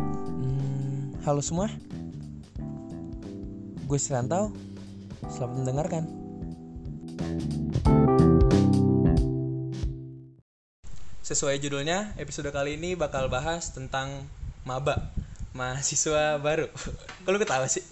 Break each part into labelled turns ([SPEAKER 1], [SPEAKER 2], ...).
[SPEAKER 1] Hmm, Halo semua, gue Sirantau. Selamat mendengarkan. Sesuai judulnya, episode kali ini bakal bahas tentang maba, mahasiswa baru. Kok lu ketawa sih?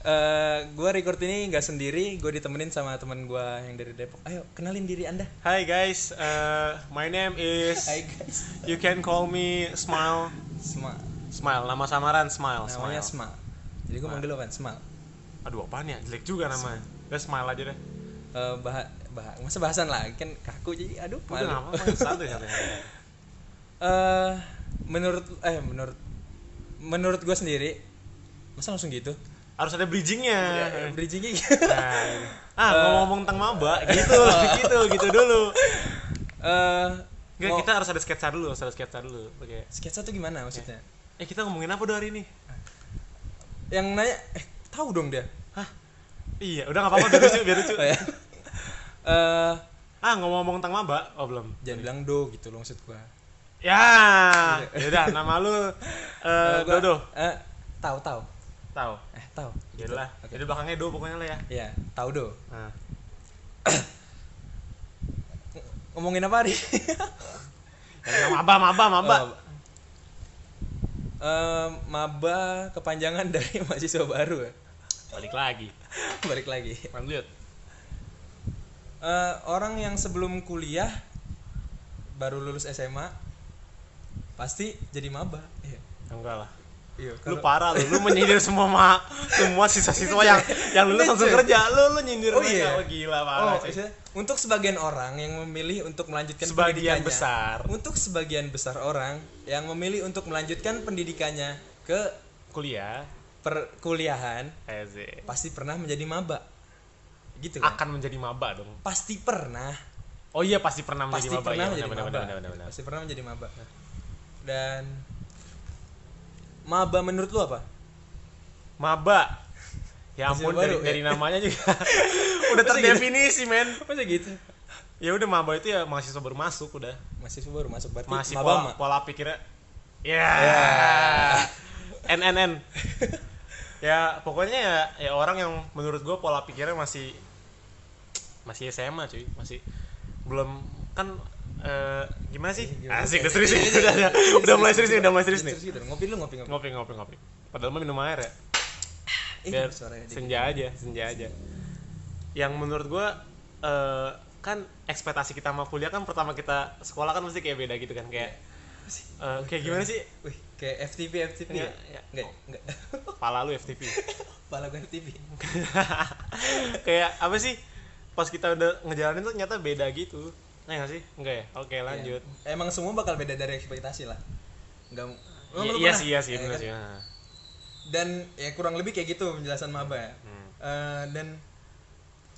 [SPEAKER 1] Eh, gue record ini nggak sendiri, gue ditemenin sama teman gue yang dari Depok. Ayo kenalin diri anda.
[SPEAKER 2] Hi guys, uh, my name is.
[SPEAKER 1] Hai guys.
[SPEAKER 2] You can call me Smile.
[SPEAKER 1] Sma,
[SPEAKER 2] Smile, nama samaran Smile.
[SPEAKER 1] namanya
[SPEAKER 2] smile.
[SPEAKER 1] Sma. Jadi gue manggil lo kan Sma.
[SPEAKER 2] Aduh apaan ya, jelek juga namanya. Udah Smile aja deh.
[SPEAKER 1] Eh, bah, bah, masa bahasan lagi kan kaku jadi aduh malu.
[SPEAKER 2] Udah nggak apa-apa, santai santai.
[SPEAKER 1] eh menurut eh menurut menurut gue sendiri masa langsung gitu
[SPEAKER 2] Harus ada bridgingnya.
[SPEAKER 1] Eh, bridgingnya
[SPEAKER 2] Nah, ah ngomong-ngomong tentang maba, gitu, gitu, gitu dulu.
[SPEAKER 1] eh
[SPEAKER 2] Nggak,
[SPEAKER 1] mau-
[SPEAKER 2] kita harus ada sketsa dulu, harus ada sketsa dulu. Oke.
[SPEAKER 1] sketsa tuh gimana maksudnya
[SPEAKER 2] Eh kita ngomongin apa dulu hari ini? Iya.
[SPEAKER 1] yang nanya eh tahu dong dia
[SPEAKER 2] Hah? Iya, udah nggak apa-apa, biar lucu, biar lucu.
[SPEAKER 1] Oh, ya. eh
[SPEAKER 2] Ah ngomong-ngomong tentang maba, oh belum.
[SPEAKER 1] jangan bilang do gitu loh maksud gue
[SPEAKER 2] Ya,
[SPEAKER 1] Iya.
[SPEAKER 2] yaudah nama lu eh, Dodo.
[SPEAKER 1] eh tahu tahu
[SPEAKER 2] Tahu.
[SPEAKER 1] eh tahu
[SPEAKER 2] Gitu lah.
[SPEAKER 1] Oke.
[SPEAKER 2] Jadi belakangnya do pokoknya lah ya.
[SPEAKER 1] ya tahu do
[SPEAKER 2] Nah.
[SPEAKER 1] ngomongin apa hari
[SPEAKER 2] Yang maba, maba, maba.
[SPEAKER 1] Oh, eh, maba kepanjangan dari mahasiswa baru ya.
[SPEAKER 2] Balik lagi.
[SPEAKER 1] balik lagi
[SPEAKER 2] Lanjut.
[SPEAKER 1] Eh, orang yang sebelum kuliah baru lulus SMA pasti jadi maba. Iya.
[SPEAKER 2] Enggak lah.
[SPEAKER 1] Iya,
[SPEAKER 2] Lu
[SPEAKER 1] kalau-
[SPEAKER 2] parah lu, lu menyindir semua ma semua siswa-siswa yang yang lulus
[SPEAKER 1] Ini,
[SPEAKER 2] langsung
[SPEAKER 1] cuy.
[SPEAKER 2] kerja. Lu lu nyindir
[SPEAKER 1] Oh,
[SPEAKER 2] mereka.
[SPEAKER 1] iya.
[SPEAKER 2] Oh, gila parah.
[SPEAKER 1] Oh,
[SPEAKER 2] cuy.
[SPEAKER 1] maksudnya, untuk sebagian orang yang memilih untuk melanjutkan
[SPEAKER 2] Sebagian
[SPEAKER 1] pendidikannya-
[SPEAKER 2] besar
[SPEAKER 1] Untuk sebagian besar orang yang memilih untuk melanjutkan pendidikannya ke
[SPEAKER 2] kuliah eh,
[SPEAKER 1] perkuliahan
[SPEAKER 2] EZ
[SPEAKER 1] pasti pernah menjadi maba. Gitu kan?
[SPEAKER 2] akan menjadi maba dong.
[SPEAKER 1] Pasti pernah.
[SPEAKER 2] Oh iya pasti pernah
[SPEAKER 1] pasti
[SPEAKER 2] menjadi maba.
[SPEAKER 1] pernah
[SPEAKER 2] Iya,
[SPEAKER 1] menjadi
[SPEAKER 2] benar,
[SPEAKER 1] maba
[SPEAKER 2] benar, benar, benar, benar.
[SPEAKER 1] pasti pernah menjadi maba dan maba menurut lu apa
[SPEAKER 2] Maba. Ya
[SPEAKER 1] Masih
[SPEAKER 2] ampun
[SPEAKER 1] baru,
[SPEAKER 2] dari,
[SPEAKER 1] ya?
[SPEAKER 2] dari namanya juga udah
[SPEAKER 1] Masih gitu?
[SPEAKER 2] terdefinisi men.
[SPEAKER 1] masa gitu
[SPEAKER 2] Ya udah maba itu ya mahasiswa baru masuk udah.
[SPEAKER 1] masih baru masuk berarti
[SPEAKER 2] masih
[SPEAKER 1] maba
[SPEAKER 2] pola,
[SPEAKER 1] ma-
[SPEAKER 2] pola pikirnya ya NNN ya pokoknya ya ya orang yang menurut gue pola pikirnya masih masih SMA cuy masih belum kan eh, gimana sih
[SPEAKER 1] Gimana?
[SPEAKER 2] asik udah serius nih udah, udah, udah mulai serius nih udah mulai serius nih
[SPEAKER 1] Serius gitu. ngopi lu ngopi ngopi
[SPEAKER 2] ngopi ngopi ngopi padahal mah minum air ya
[SPEAKER 1] Ih,
[SPEAKER 2] biar
[SPEAKER 1] Iya, suaranya dikit.
[SPEAKER 2] senja aja senja aja yang menurut gua eh, kan ekspektasi kita sama kuliah kan pertama kita sekolah kan mesti kayak beda gitu kan kayak eh, kayak gimana sih
[SPEAKER 1] wih kayak FTP FTP
[SPEAKER 2] Iya,
[SPEAKER 1] ya
[SPEAKER 2] iya.
[SPEAKER 1] enggak enggak
[SPEAKER 2] pala lu FTP
[SPEAKER 1] pala gue FTP
[SPEAKER 2] kayak apa sih pas kita udah ngejalanin tuh ternyata beda gitu nah nggak sih enggak ya oke lanjut
[SPEAKER 1] Iya. emang semua bakal beda dari ekspektasi lah enggak emang
[SPEAKER 2] Iya-
[SPEAKER 1] lu
[SPEAKER 2] iya
[SPEAKER 1] pernah?
[SPEAKER 2] sih iya sih
[SPEAKER 1] Ya,
[SPEAKER 2] bener
[SPEAKER 1] kan?
[SPEAKER 2] sih nah.
[SPEAKER 1] dan ya kurang lebih kayak gitu penjelasan maba ya
[SPEAKER 2] Hmm.
[SPEAKER 1] Eh, dan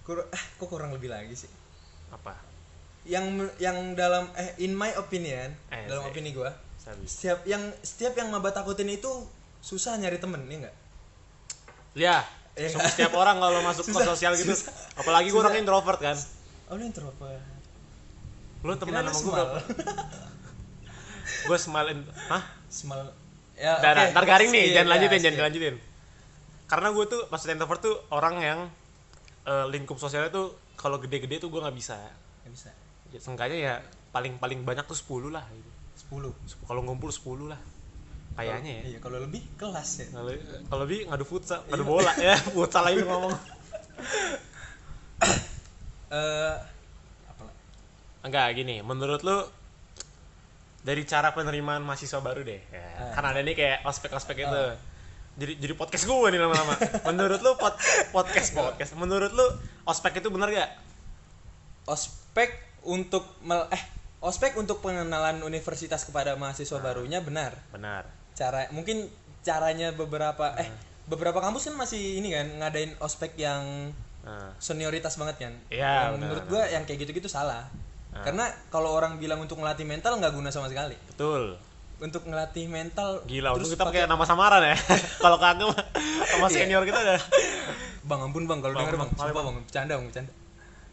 [SPEAKER 1] kur ah, kok kurang lebih lagi sih
[SPEAKER 2] apa
[SPEAKER 1] yang yang dalam eh in my opinion
[SPEAKER 2] Eh,
[SPEAKER 1] dalam
[SPEAKER 2] saya-
[SPEAKER 1] opini gua
[SPEAKER 2] Sabis.
[SPEAKER 1] setiap yang setiap yang maba takutin itu susah nyari temen ya enggak
[SPEAKER 2] ya
[SPEAKER 1] Iya,
[SPEAKER 2] semua- setiap orang kalau masuk ke
[SPEAKER 1] Susah,
[SPEAKER 2] sosial gitu
[SPEAKER 1] susah.
[SPEAKER 2] apalagi gue
[SPEAKER 1] Susah.
[SPEAKER 2] orang introvert kan
[SPEAKER 1] oh lu introvert
[SPEAKER 2] lu temenan
[SPEAKER 1] Kirain lu
[SPEAKER 2] sama gue
[SPEAKER 1] small.
[SPEAKER 2] berapa gue semalam hah
[SPEAKER 1] small ya
[SPEAKER 2] Udah, udah,
[SPEAKER 1] oke.
[SPEAKER 2] ntar garing nih,
[SPEAKER 1] Skip,
[SPEAKER 2] jangan
[SPEAKER 1] ya,
[SPEAKER 2] lanjutin, jangan
[SPEAKER 1] skip.
[SPEAKER 2] dilanjutin. Karena gue tuh pas introvert tuh orang yang eh, lingkup sosialnya tuh kalau gede-gede tuh gue nggak bisa.
[SPEAKER 1] Nggak bisa
[SPEAKER 2] Ya, Seenggaknya ya paling paling banyak tuh 10 lah. gitu.
[SPEAKER 1] 10
[SPEAKER 2] Sep- Kalau ngumpul 10 lah. Kayaknya ya.
[SPEAKER 1] iya kalau lebih kelas ya
[SPEAKER 2] Kalau- Kalau lebih ngadu futsal, ngadu bola ya, futsal lagi ngomong.
[SPEAKER 1] eh apa lah?
[SPEAKER 2] Enggak gini, menurut lu dari cara penerimaan mahasiswa baru deh. Ya, Kan ada nih kayak ospek-ospek itu. Jadi jadi podcast gue nih lama-lama. menurut lu pod- podcast podcast. Menurut lu ospek itu bener gak?
[SPEAKER 1] ospek untuk mel eh ospek untuk pengenalan universitas kepada mahasiswa
[SPEAKER 2] Ah.
[SPEAKER 1] barunya benar
[SPEAKER 2] Benar.
[SPEAKER 1] cara mungkin caranya beberapa
[SPEAKER 2] Hmm.
[SPEAKER 1] eh beberapa kampus kan masih ini kan ngadain ospek yang
[SPEAKER 2] Nah,
[SPEAKER 1] senioritas banget kan Yang
[SPEAKER 2] Iya, benar, Hmm.
[SPEAKER 1] menurut gua yang kayak gitu-gitu salah karena kalau orang bilang untuk ngelatih mental nggak guna sama sekali
[SPEAKER 2] betul.
[SPEAKER 1] untuk ngelatih mental
[SPEAKER 2] Gila,
[SPEAKER 1] terus
[SPEAKER 2] untung kita
[SPEAKER 1] pakai
[SPEAKER 2] pakai Iya. nama samaran ya. Kalau kagak mah sama senior kita udah
[SPEAKER 1] bang ampun bang kalau
[SPEAKER 2] Bang,
[SPEAKER 1] denger
[SPEAKER 2] bang,
[SPEAKER 1] bang
[SPEAKER 2] maaf,
[SPEAKER 1] sumpah bang bercanda bang bercanda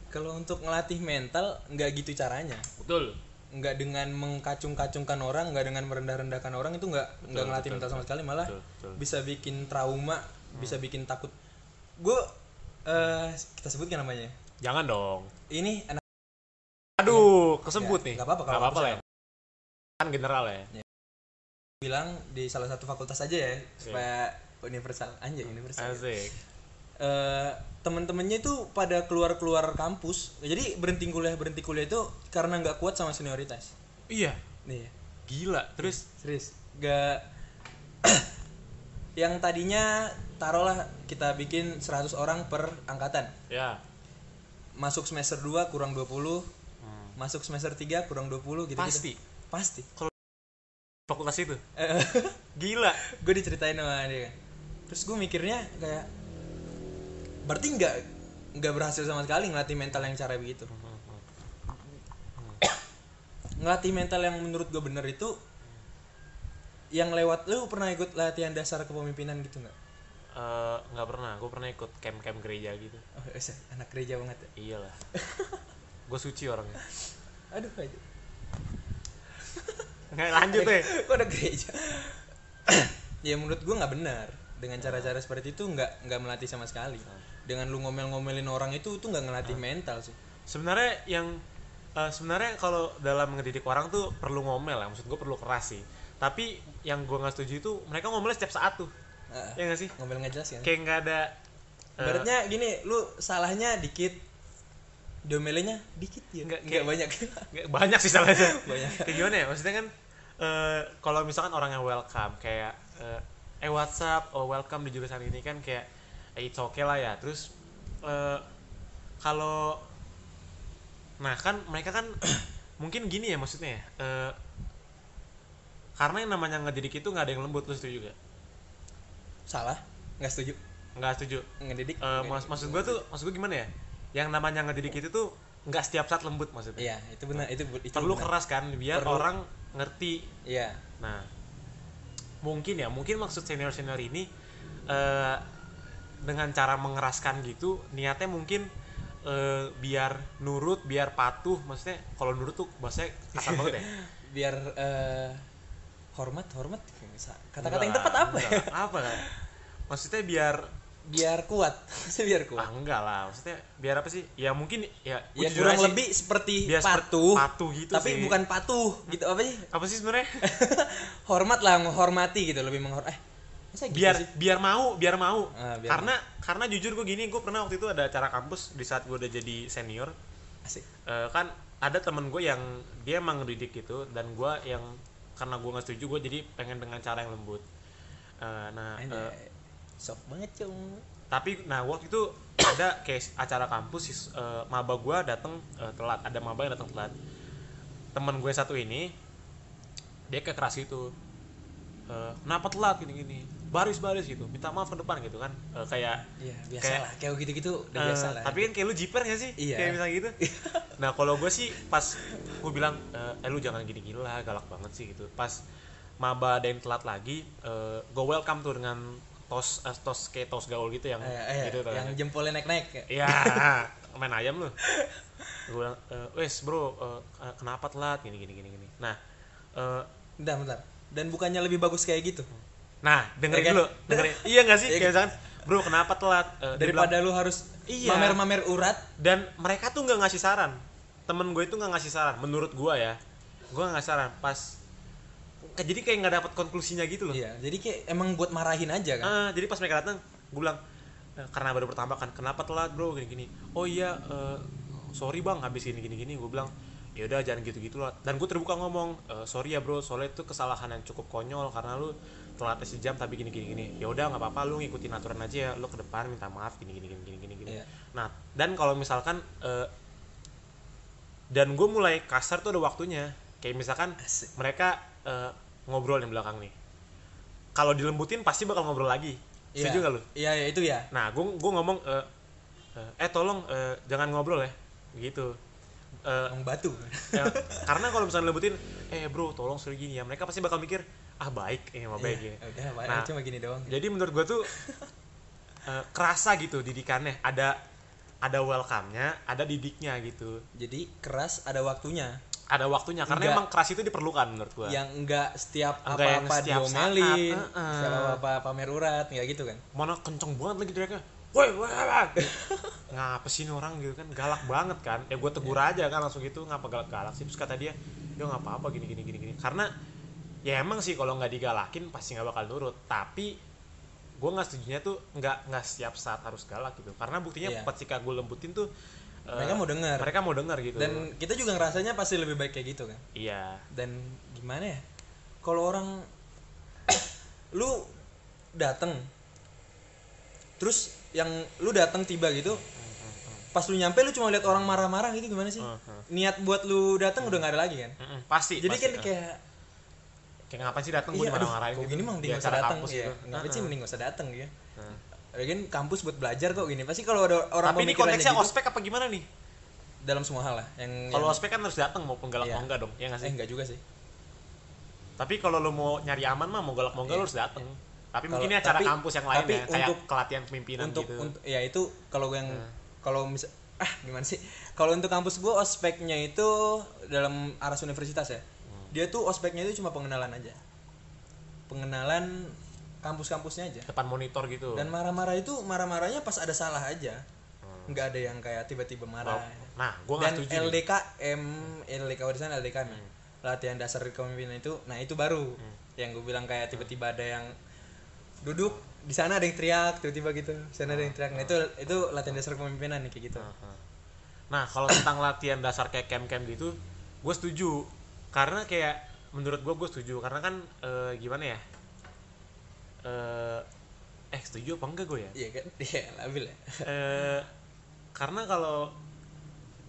[SPEAKER 1] kalau untuk ngelatih mental nggak gitu caranya
[SPEAKER 2] betul.
[SPEAKER 1] nggak dengan mengkacung-kacungkan orang nggak dengan merendah-rendahkan orang itu nggak nggak ngelatih mental sama sekali malah
[SPEAKER 2] Betul, betul.
[SPEAKER 1] bisa bikin trauma bisa bikin takut gue kita sebutkan namanya
[SPEAKER 2] Jangan dong.
[SPEAKER 1] ini anak
[SPEAKER 2] Aduh, kesebut
[SPEAKER 1] Ya,
[SPEAKER 2] nih.
[SPEAKER 1] nggak apa-apa kalau
[SPEAKER 2] Iya, Nggak apa-apa lah. ya. Kan general ya.
[SPEAKER 1] bilang di salah satu fakultas aja ya supaya universal anjay universal ya.
[SPEAKER 2] Asik.
[SPEAKER 1] eh temen-temennya itu pada keluar-keluar kampus jadi berhenti kuliah berhenti kuliah itu karena nggak kuat sama senioritas
[SPEAKER 2] Iya,
[SPEAKER 1] nih ya,
[SPEAKER 2] gila. Terus
[SPEAKER 1] serius nggak yang tadinya taruhlah kita bikin 100 orang per angkatan
[SPEAKER 2] ya.
[SPEAKER 1] masuk semester 2 kurang 20 masuk semester 3 kurang 20 gitu
[SPEAKER 2] Pasti
[SPEAKER 1] pasti
[SPEAKER 2] fakultas itu. Gila.
[SPEAKER 1] gue diceritain sama dia terus gue mikirnya kayak berarti nggak nggak berhasil sama sekali ngelatih mental yang cara begitu ngelatih mental yang menurut gue bener itu yang lewat lu pernah ikut latihan dasar kepemimpinan gitu nggak
[SPEAKER 2] Eh, nggak pernah, gue pernah ikut camp-camp gereja gitu.
[SPEAKER 1] oh, usah. anak gereja banget ya.
[SPEAKER 2] Iyalah. gue suci orangnya.
[SPEAKER 1] aduh aja
[SPEAKER 2] Nggak lanjut deh.
[SPEAKER 1] kok ada gereja ya menurut gue nggak benar dengan cara-cara seperti itu nggak nggak melatih sama sekali dengan lu ngomel-ngomelin orang itu itu nggak ngelatih
[SPEAKER 2] Ah.
[SPEAKER 1] mental sih
[SPEAKER 2] sebenarnya yang eh, sebenarnya kalau dalam ngedidik orang tuh perlu ngomel ya maksud gue perlu keras sih tapi yang gue nggak setuju itu mereka ngomelnya setiap saat tuh
[SPEAKER 1] Ah.
[SPEAKER 2] ya nggak sih
[SPEAKER 1] ngomel nggak jelas kan
[SPEAKER 2] kayak nggak ada eh,
[SPEAKER 1] Ibaratnya gini, lu salahnya dikit, domelenya dikit ya.
[SPEAKER 2] Nggak-
[SPEAKER 1] Nggak banyak.
[SPEAKER 2] nggak- banyak sih salahnya
[SPEAKER 1] Banyak.
[SPEAKER 2] kayak gimana ya maksudnya kan eh, kalau misalkan orang yang welcome kayak eh, eh WhatsApp oh welcome di jurusan ini kan kayak eh, it's okay lah ya terus eh, kalau nah kan mereka kan mungkin gini ya maksudnya ya, eh, karena yang namanya ngedidik itu nggak ada yang lembut lu setuju gak?
[SPEAKER 1] Salah, nggak setuju
[SPEAKER 2] nggak setuju
[SPEAKER 1] ngedidik.
[SPEAKER 2] Eh, mas maksud gue tuh maksud gue gimana ya yang namanya ngedidik itu tuh nggak setiap saat lembut maksudnya
[SPEAKER 1] Iya, itu benar, itu bu- itu
[SPEAKER 2] perlu
[SPEAKER 1] benar.
[SPEAKER 2] keras kan biar
[SPEAKER 1] Perlu.
[SPEAKER 2] orang ngerti
[SPEAKER 1] Iya.
[SPEAKER 2] Nah, mungkin ya, mungkin maksud senior senior ini eh, dengan cara mengeraskan gitu, niatnya mungkin eh, biar nurut, biar patuh. Maksudnya kalau nurut tuh bahasanya kasar banget ya.
[SPEAKER 1] Biar eh, hormat, hormat. Kata-kata yang
[SPEAKER 2] Enggak
[SPEAKER 1] tepat
[SPEAKER 2] lah,
[SPEAKER 1] apa ya?
[SPEAKER 2] enggak lah. Apa lah? Maksudnya biar
[SPEAKER 1] Biar kuat. Maksudnya biar kuat.
[SPEAKER 2] ah enggak lah, maksudnya biar apa sih? Ya mungkin ya gua
[SPEAKER 1] ya
[SPEAKER 2] jujur
[SPEAKER 1] kurang
[SPEAKER 2] aja sih,
[SPEAKER 1] lebih seperti
[SPEAKER 2] biar seperti
[SPEAKER 1] patuh.
[SPEAKER 2] patuh gitu
[SPEAKER 1] tapi
[SPEAKER 2] sih.
[SPEAKER 1] bukan Gitu patuh gitu apa sih?
[SPEAKER 2] apa sih sebenarnya?
[SPEAKER 1] hormat lah, menghormati gitu, lebih menghormati. Eh, masa gitu
[SPEAKER 2] biar
[SPEAKER 1] sih?
[SPEAKER 2] biar mau biar mau
[SPEAKER 1] Ah, biar
[SPEAKER 2] karena karena jujur gue gini gue pernah waktu itu ada acara kampus di saat gue udah jadi senior
[SPEAKER 1] Asik.
[SPEAKER 2] Eh, kan ada temen gue yang dia emang ngedidik gitu dan gue yang karena gue nggak setuju gue jadi pengen dengan cara yang lembut Eh, nah eh,
[SPEAKER 1] Anjay. Soft banget, Cung.
[SPEAKER 2] tapi nah waktu itu ada kayak acara kampus sis- eh, maba gue datang eh, telat ada maba yang datang telat temen gue satu ini dia kayak keras gitu Eh, kenapa telat gini gini baris baris gitu minta maaf ke depan gitu kan Eh, kayak
[SPEAKER 1] Iya, biasa
[SPEAKER 2] Kayak-
[SPEAKER 1] lah. Kayak gitu-gitu udah
[SPEAKER 2] Eh,
[SPEAKER 1] biasa lah. ya.
[SPEAKER 2] Tapi kan kayak lu jiper gak sih?
[SPEAKER 1] Iya.
[SPEAKER 2] Kayak misalnya gitu. nah kalau gue sih pas gue bilang, eh eh, lu jangan gini-gini lah, galak banget sih gitu. Pas maba ada yang telat lagi, eh gue welcome tuh dengan tos eh, tos kayak tos gaul gitu yang
[SPEAKER 1] Eh, eh,
[SPEAKER 2] gitu tuh.
[SPEAKER 1] yang jempolnya naik-naik ya.
[SPEAKER 2] Iya, main ayam lu. Gue bilang, eh, wes bro, eh, eh, kenapa telat? Gini gini gini gini. Nah, eh,
[SPEAKER 1] Bentar, bentar. Dan bukannya lebih bagus kayak gitu.
[SPEAKER 2] nah dengerin
[SPEAKER 1] Oke.
[SPEAKER 2] dulu, dengerin. iya gak sih?
[SPEAKER 1] kan? Iya,
[SPEAKER 2] Kayak misalkan, bro kenapa telat? Eh, dia bilang,
[SPEAKER 1] Daripada lu harus
[SPEAKER 2] Iya.
[SPEAKER 1] mamer-mamer urat,
[SPEAKER 2] dan mereka tuh nggak ngasih saran temen gue itu nggak ngasih saran menurut gue ya gue nggak ngasih saran pas ke- jadi kayak nggak dapat konklusinya gitu loh
[SPEAKER 1] iya. Jadi kayak emang buat marahin aja kan.
[SPEAKER 2] Ah, jadi pas mereka datang gue bilang "Eh, karena baru pertama kan kenapa telat bro gini gini oh iya eh, sorry bang habis gini gini gini gue bilang ya udah jangan gitu gitu lah dan gue terbuka ngomong "Eh, sorry ya bro soalnya itu kesalahan yang cukup konyol karena lu telat sejam tapi gini gini gini ya udah nggak apa-apa lu ngikutin aturan aja ya lu ke depan minta maaf gini gini gini gini gini gini
[SPEAKER 1] Iya.
[SPEAKER 2] nah dan kalau misalkan eh, dan gue mulai kasar tuh ada waktunya kayak misalkan
[SPEAKER 1] Asik.
[SPEAKER 2] mereka eh, ngobrol di belakang nih kalau dilembutin pasti bakal ngobrol lagi
[SPEAKER 1] Iya.
[SPEAKER 2] setuju nggak lu
[SPEAKER 1] Iya, iya, itu ya.
[SPEAKER 2] nah gue gue ngomong eh, eh, eh tolong eh, jangan ngobrol ya gitu Eh,
[SPEAKER 1] Emang batu.
[SPEAKER 2] ya, karena kalau misalnya lembutin eh bro tolong suruh gini ya mereka pasti bakal mikir ah baik ini mah baik
[SPEAKER 1] Iya,
[SPEAKER 2] gini
[SPEAKER 1] Udah, Pak,
[SPEAKER 2] Nah.
[SPEAKER 1] cuma gini doang.
[SPEAKER 2] jadi menurut gue tuh eh, kerasa gitu didikannya ada ada welcome-nya ada didiknya gitu
[SPEAKER 1] Jadi keras ada waktunya.
[SPEAKER 2] ada waktunya karena
[SPEAKER 1] Enggak. Iya,
[SPEAKER 2] emang keras itu diperlukan menurut gua
[SPEAKER 1] yang enggak setiap
[SPEAKER 2] Enggak yang
[SPEAKER 1] apa-apa
[SPEAKER 2] setiap
[SPEAKER 1] diomelin,
[SPEAKER 2] saat, heeh.
[SPEAKER 1] setiap apa-apa pamer urat, enggak gitu kan.
[SPEAKER 2] mana kenceng banget lagi teriaknya woi woi woi ngapa sih ini orang gitu kan galak banget kan ya gue tegur
[SPEAKER 1] Iya.
[SPEAKER 2] aja kan langsung gitu ngapa galak galak sih terus kata dia yo nggak apa apa gini gini gini gini karena ya emang sih kalau nggak digalakin pasti nggak bakal nurut tapi gue nggak setujunya tuh nggak nggak setiap saat harus galak gitu karena buktinya
[SPEAKER 1] Iya.
[SPEAKER 2] ketika gue lembutin tuh eh,
[SPEAKER 1] Mereka mau dengar.
[SPEAKER 2] mereka mau dengar gitu
[SPEAKER 1] Dan kita juga ngerasanya pasti lebih baik kayak gitu kan.
[SPEAKER 2] iya
[SPEAKER 1] Dan gimana ya? Kalau orang lu dateng terus yang lu dateng tiba gitu pas lu nyampe lu cuma lihat orang marah-marah gitu gimana sih?
[SPEAKER 2] Heeh.
[SPEAKER 1] Niat buat lu dateng udah nggak ada lagi kan?
[SPEAKER 2] Mm-mm, pasti
[SPEAKER 1] Jadi
[SPEAKER 2] pasti.
[SPEAKER 1] kan kayak
[SPEAKER 2] kayak ngapain sih datang gue
[SPEAKER 1] iya, aduh,
[SPEAKER 2] marah-marahin gitu.
[SPEAKER 1] kok gini mah mending
[SPEAKER 2] Di
[SPEAKER 1] gak usah
[SPEAKER 2] acara
[SPEAKER 1] datang
[SPEAKER 2] kampus
[SPEAKER 1] ya.
[SPEAKER 2] gitu.
[SPEAKER 1] Ngapain sih
[SPEAKER 2] Heeh.
[SPEAKER 1] mending gak usah datang ya.
[SPEAKER 2] Heeh.
[SPEAKER 1] Lagian kampus buat belajar kok gini. Pasti kalau ada orang
[SPEAKER 2] tapi ini
[SPEAKER 1] pemikirannya
[SPEAKER 2] konteksnya
[SPEAKER 1] gitu,
[SPEAKER 2] ospek apa gimana nih
[SPEAKER 1] dalam semua hal lah yang
[SPEAKER 2] Kalau
[SPEAKER 1] yang-
[SPEAKER 2] ospek kan harus datang maupun galak
[SPEAKER 1] Iya.
[SPEAKER 2] mau enggak dong, ya nggak
[SPEAKER 1] eh
[SPEAKER 2] sih?
[SPEAKER 1] enggak juga sih.
[SPEAKER 2] Tapi kalau lo mau nyari aman mah mau galak mau enggak lo harus datang. Tapi
[SPEAKER 1] Iya. Kalau-
[SPEAKER 2] mungkin ini acara
[SPEAKER 1] tapi-
[SPEAKER 2] kampus yang lain
[SPEAKER 1] tapi
[SPEAKER 2] ya, kayak
[SPEAKER 1] untuk-
[SPEAKER 2] pelatihan pemimpinan
[SPEAKER 1] untuk
[SPEAKER 2] gitu.
[SPEAKER 1] untuk ya itu kalau yang kalau misal ah gimana sih? Kalau untuk kampus gua ospeknya itu dalam aras universitas ya.
[SPEAKER 2] Hmm.
[SPEAKER 1] Dia tuh ospeknya itu cuma pengenalan aja. Pengenalan kampus-kampusnya aja.
[SPEAKER 2] depan monitor gitu.
[SPEAKER 1] Dan marah-marah itu marah-marahnya pas ada salah aja.
[SPEAKER 2] Hmm.
[SPEAKER 1] Enggak ada yang kayak tiba-tiba marah.
[SPEAKER 2] nah, gua nggak
[SPEAKER 1] eh, dan
[SPEAKER 2] setuju. nih. Hmm.
[SPEAKER 1] LDKM LDK warisan LDKM ya. latihan dasar kepemimpinan itu nah itu baru yang gue bilang
[SPEAKER 2] Hmm.
[SPEAKER 1] kayak tiba-tiba ada yang duduk di sana ada yang teriak tiba-tiba gitu di sana ada yang teriak nah itu itu latihan dasar kepemimpinan nih kayak gitu
[SPEAKER 2] Heeh. Nah, kalau tentang latihan dasar kayak camp-camp gitu, gue setuju. Karena kayak menurut gue gue setuju karena kan eh, gimana ya? Eh, eh setuju apa enggak gue ya?
[SPEAKER 1] iya kan iya labil ya
[SPEAKER 2] eh karena kalau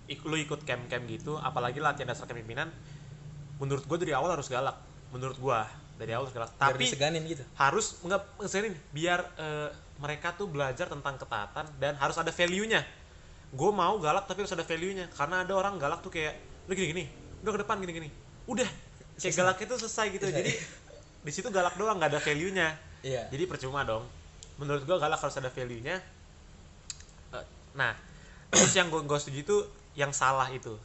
[SPEAKER 2] ik- lu ikut camp-camp gitu, apalagi latihan dasar kepemimpinan, menurut gue dari awal harus galak. Menurut gue dari awal harus galak.
[SPEAKER 1] biar
[SPEAKER 2] Tapi
[SPEAKER 1] diseganin gitu
[SPEAKER 2] harus nggak ngeselin, biar eh, mereka tuh belajar tentang ketaatan dan harus ada value-nya. Gue mau galak tapi harus ada value-nya. Karena ada orang galak tuh kayak lu gini-gini, udah ke depan gini-gini, udah. Kayak galaknya tuh selesai gitu.
[SPEAKER 1] Selesai.
[SPEAKER 2] Jadi di situ galak doang nggak ada value-nya.
[SPEAKER 1] iya
[SPEAKER 2] Jadi percuma dong. Menurut gua galak harus ada value-nya. Eh, Nah, terus yang gua, gua setuju itu yang salah itu.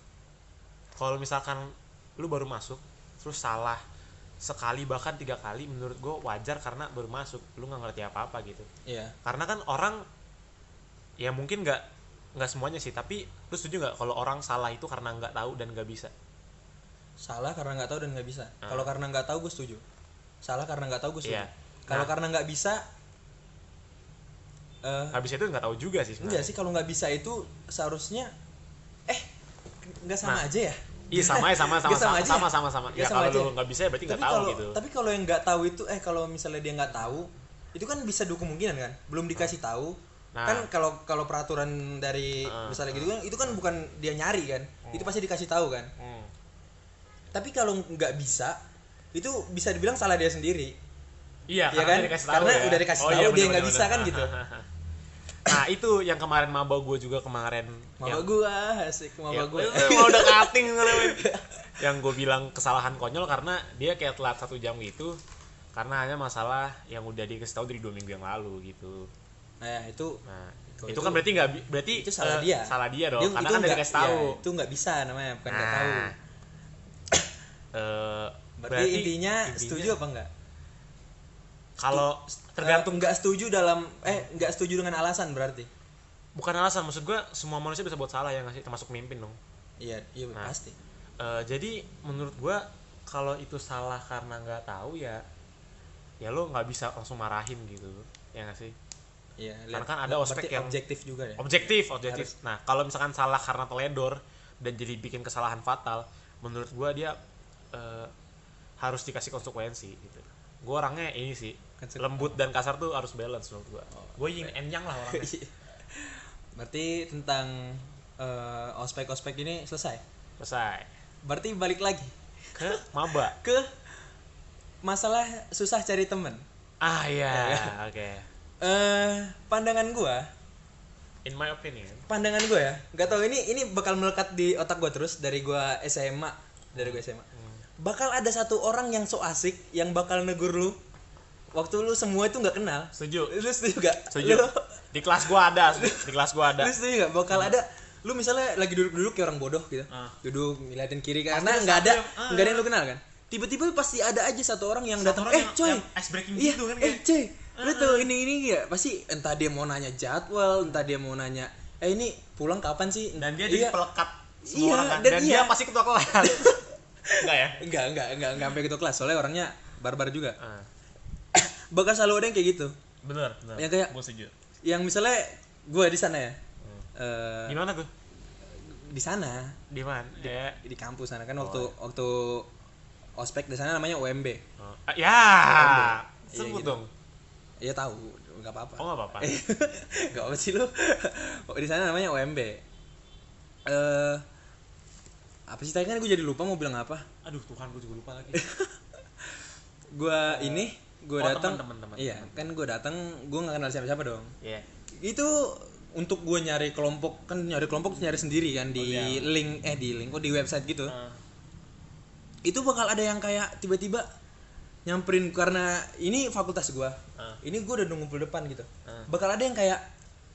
[SPEAKER 2] Kalau misalkan lu baru masuk terus salah sekali bahkan tiga kali menurut gua wajar karena baru masuk lu nggak ngerti apa apa gitu
[SPEAKER 1] iya
[SPEAKER 2] karena kan orang ya mungkin nggak nggak semuanya sih tapi lu setuju nggak kalau orang salah itu karena nggak tahu dan nggak bisa
[SPEAKER 1] salah karena nggak tahu dan nggak bisa kalau karena nggak tahu gue setuju salah karena nggak tahu gue setuju
[SPEAKER 2] Hmm. Iya.
[SPEAKER 1] kalau
[SPEAKER 2] Nah.
[SPEAKER 1] karena nggak bisa eh
[SPEAKER 2] habis itu nggak tahu juga sih
[SPEAKER 1] Enggak
[SPEAKER 2] sebenarnya
[SPEAKER 1] sih kalau nggak bisa itu seharusnya eh nggak sama
[SPEAKER 2] Nah,
[SPEAKER 1] aja ya.
[SPEAKER 2] iya sama ya, sama sama
[SPEAKER 1] Nggak
[SPEAKER 2] sama
[SPEAKER 1] aja
[SPEAKER 2] sama
[SPEAKER 1] ya?
[SPEAKER 2] sama sama
[SPEAKER 1] Nggak
[SPEAKER 2] ya
[SPEAKER 1] sama
[SPEAKER 2] kalau
[SPEAKER 1] aja
[SPEAKER 2] lu
[SPEAKER 1] ya?
[SPEAKER 2] nggak bisa ya berarti
[SPEAKER 1] Tapi
[SPEAKER 2] nggak tahu
[SPEAKER 1] kalau
[SPEAKER 2] gitu
[SPEAKER 1] tapi kalau yang nggak tahu itu eh kalau misalnya dia nggak tahu itu kan bisa dua kemungkinan kan belum dikasih tahu
[SPEAKER 2] Nah. Ah,
[SPEAKER 1] kan kalau kalau peraturan dari misalnya gitu kan itu kan bukan dia nyari kan itu
[SPEAKER 2] Oh.
[SPEAKER 1] pasti dikasih tahu kan
[SPEAKER 2] Hmm.
[SPEAKER 1] tapi kalau nggak bisa itu bisa dibilang salah dia sendiri
[SPEAKER 2] Iya,
[SPEAKER 1] Iya
[SPEAKER 2] karena
[SPEAKER 1] kan?
[SPEAKER 2] udah dikasih tahu
[SPEAKER 1] Karena
[SPEAKER 2] ya.
[SPEAKER 1] udah dikasih tahu, dia nggak bisa kan gitu.
[SPEAKER 2] nah, itu yang kemarin maba gue juga kemarin
[SPEAKER 1] mama
[SPEAKER 2] yang,
[SPEAKER 1] gua asik mama
[SPEAKER 2] yang-
[SPEAKER 1] gua
[SPEAKER 2] Eh, mau udah cutting kan, men. yang gue bilang kesalahan konyol karena dia kayak telat satu jam gitu karena hanya masalah yang udah dikasih tahu dari dua minggu yang lalu gitu
[SPEAKER 1] nah itu
[SPEAKER 2] nah
[SPEAKER 1] Kalau
[SPEAKER 2] itu,
[SPEAKER 1] Oh, itu-
[SPEAKER 2] kan berarti nggak bi- berarti
[SPEAKER 1] itu salah
[SPEAKER 2] eh,
[SPEAKER 1] dia
[SPEAKER 2] salah dia dong
[SPEAKER 1] Dia-
[SPEAKER 2] karena
[SPEAKER 1] itu
[SPEAKER 2] kan udah
[SPEAKER 1] nggak-
[SPEAKER 2] dikasih tahu
[SPEAKER 1] ya, itu nggak bisa namanya bukan nggak
[SPEAKER 2] Nah.
[SPEAKER 1] tahu
[SPEAKER 2] Eh,
[SPEAKER 1] berarti, intinya, setuju apa enggak
[SPEAKER 2] kalau tergantung
[SPEAKER 1] nggak setuju dalam eh nggak setuju dengan alasan berarti
[SPEAKER 2] bukan alasan maksud gue semua manusia bisa buat salah ya nggak sih termasuk pemimpin dong
[SPEAKER 1] iya iya
[SPEAKER 2] Nah.
[SPEAKER 1] pasti
[SPEAKER 2] Eh, jadi menurut gua kalau itu salah karena nggak tahu ya ya lo nggak bisa langsung marahin gitu ya nggak sih
[SPEAKER 1] iya
[SPEAKER 2] Karena
[SPEAKER 1] lihat-
[SPEAKER 2] kan ada
[SPEAKER 1] berarti
[SPEAKER 2] ospek yang-
[SPEAKER 1] objektif juga ya
[SPEAKER 2] objektif objektif nah kalau misalkan salah karena teledor dan jadi bikin kesalahan fatal menurut gua dia eh, harus dikasih konsekuensi gitu gua orangnya ini sih
[SPEAKER 1] Konseku-
[SPEAKER 2] lembut dan kasar tuh harus balance menurut gua gue yin and yang lah orangnya
[SPEAKER 1] Iya. berarti tentang eh, ospek-ospek ini selesai
[SPEAKER 2] selesai
[SPEAKER 1] berarti balik lagi
[SPEAKER 2] ke maba
[SPEAKER 1] ke masalah susah cari temen
[SPEAKER 2] ah ya oke
[SPEAKER 1] eh pandangan gua
[SPEAKER 2] in my opinion
[SPEAKER 1] pandangan gue ya nggak tahu ini ini bakal melekat di otak gue terus dari gue SMA dari gue SMA bakal ada satu orang yang so asik yang bakal negur lu waktu lu semua itu nggak kenal
[SPEAKER 2] setuju
[SPEAKER 1] lu setuju gak
[SPEAKER 2] Setuju.
[SPEAKER 1] lu,
[SPEAKER 2] Di kelas gua ada, di kelas gua ada.
[SPEAKER 1] lu setuju gak bakal ada lu misalnya lagi duduk-duduk kayak orang bodoh gitu
[SPEAKER 2] Ah.
[SPEAKER 1] duduk ngeliatin kiri karena
[SPEAKER 2] ada
[SPEAKER 1] nggak ada
[SPEAKER 2] satu yang- ah,
[SPEAKER 1] nggak ada yang
[SPEAKER 2] ah.
[SPEAKER 1] lu kenal kan tiba-tiba pasti ada aja satu orang yang
[SPEAKER 2] Satu
[SPEAKER 1] datang
[SPEAKER 2] orang
[SPEAKER 1] eh
[SPEAKER 2] yang-
[SPEAKER 1] coy
[SPEAKER 2] yang ice breaking
[SPEAKER 1] iya,
[SPEAKER 2] gitu kan
[SPEAKER 1] eh
[SPEAKER 2] kayak." ah.
[SPEAKER 1] coy lu tuh ini ini ya pasti entah dia mau nanya jadwal entah dia mau nanya eh ini pulang kapan sih
[SPEAKER 2] dan dia
[SPEAKER 1] Iya.
[SPEAKER 2] jadi pelekat semua
[SPEAKER 1] Iya,
[SPEAKER 2] orang kan
[SPEAKER 1] dan
[SPEAKER 2] dan,
[SPEAKER 1] iya.
[SPEAKER 2] dia pasti ketua kelas enggak ya
[SPEAKER 1] enggak enggak enggak enggak sampai gitu kelas soalnya orangnya barbar juga
[SPEAKER 2] Ah,
[SPEAKER 1] bakal selalu ada yang kayak gitu
[SPEAKER 2] bener bener
[SPEAKER 1] Yang kayak-
[SPEAKER 2] gue setuju
[SPEAKER 1] yang misalnya gue di sana ya
[SPEAKER 2] Hmm.
[SPEAKER 1] eh,
[SPEAKER 2] gimana tuh
[SPEAKER 1] di sana
[SPEAKER 2] di mana ya
[SPEAKER 1] di kampus sana kan waktu
[SPEAKER 2] iya.
[SPEAKER 1] waktu ospek di sana namanya UMB
[SPEAKER 2] Oh, ah, ya
[SPEAKER 1] Iya, gitu. Eh.
[SPEAKER 2] sebut dong
[SPEAKER 1] ya tahu nggak apa-apa
[SPEAKER 2] oh nggak apa-apa
[SPEAKER 1] nggak apa sih lu di sana namanya UMB eh apa sih tadi kan gue jadi lupa mau bilang apa
[SPEAKER 2] aduh tuhan gue juga lupa lagi
[SPEAKER 1] gue ini gue
[SPEAKER 2] Oh,
[SPEAKER 1] datang
[SPEAKER 2] teman, teman, teman,
[SPEAKER 1] iya kan gue datang gue nggak kenal siapa-siapa dong
[SPEAKER 2] Iya.
[SPEAKER 1] itu untuk gue nyari kelompok kan nyari kelompok nyari sendiri kan di link eh di link oh di website gitu
[SPEAKER 2] Oh, iya. Ah.
[SPEAKER 1] itu bakal ada yang kayak tiba-tiba nyamperin karena ini fakultas gua.
[SPEAKER 2] Ah.
[SPEAKER 1] Ini gua udah ngumpul depan gitu.
[SPEAKER 2] Ah.
[SPEAKER 1] Bakal ada yang kayak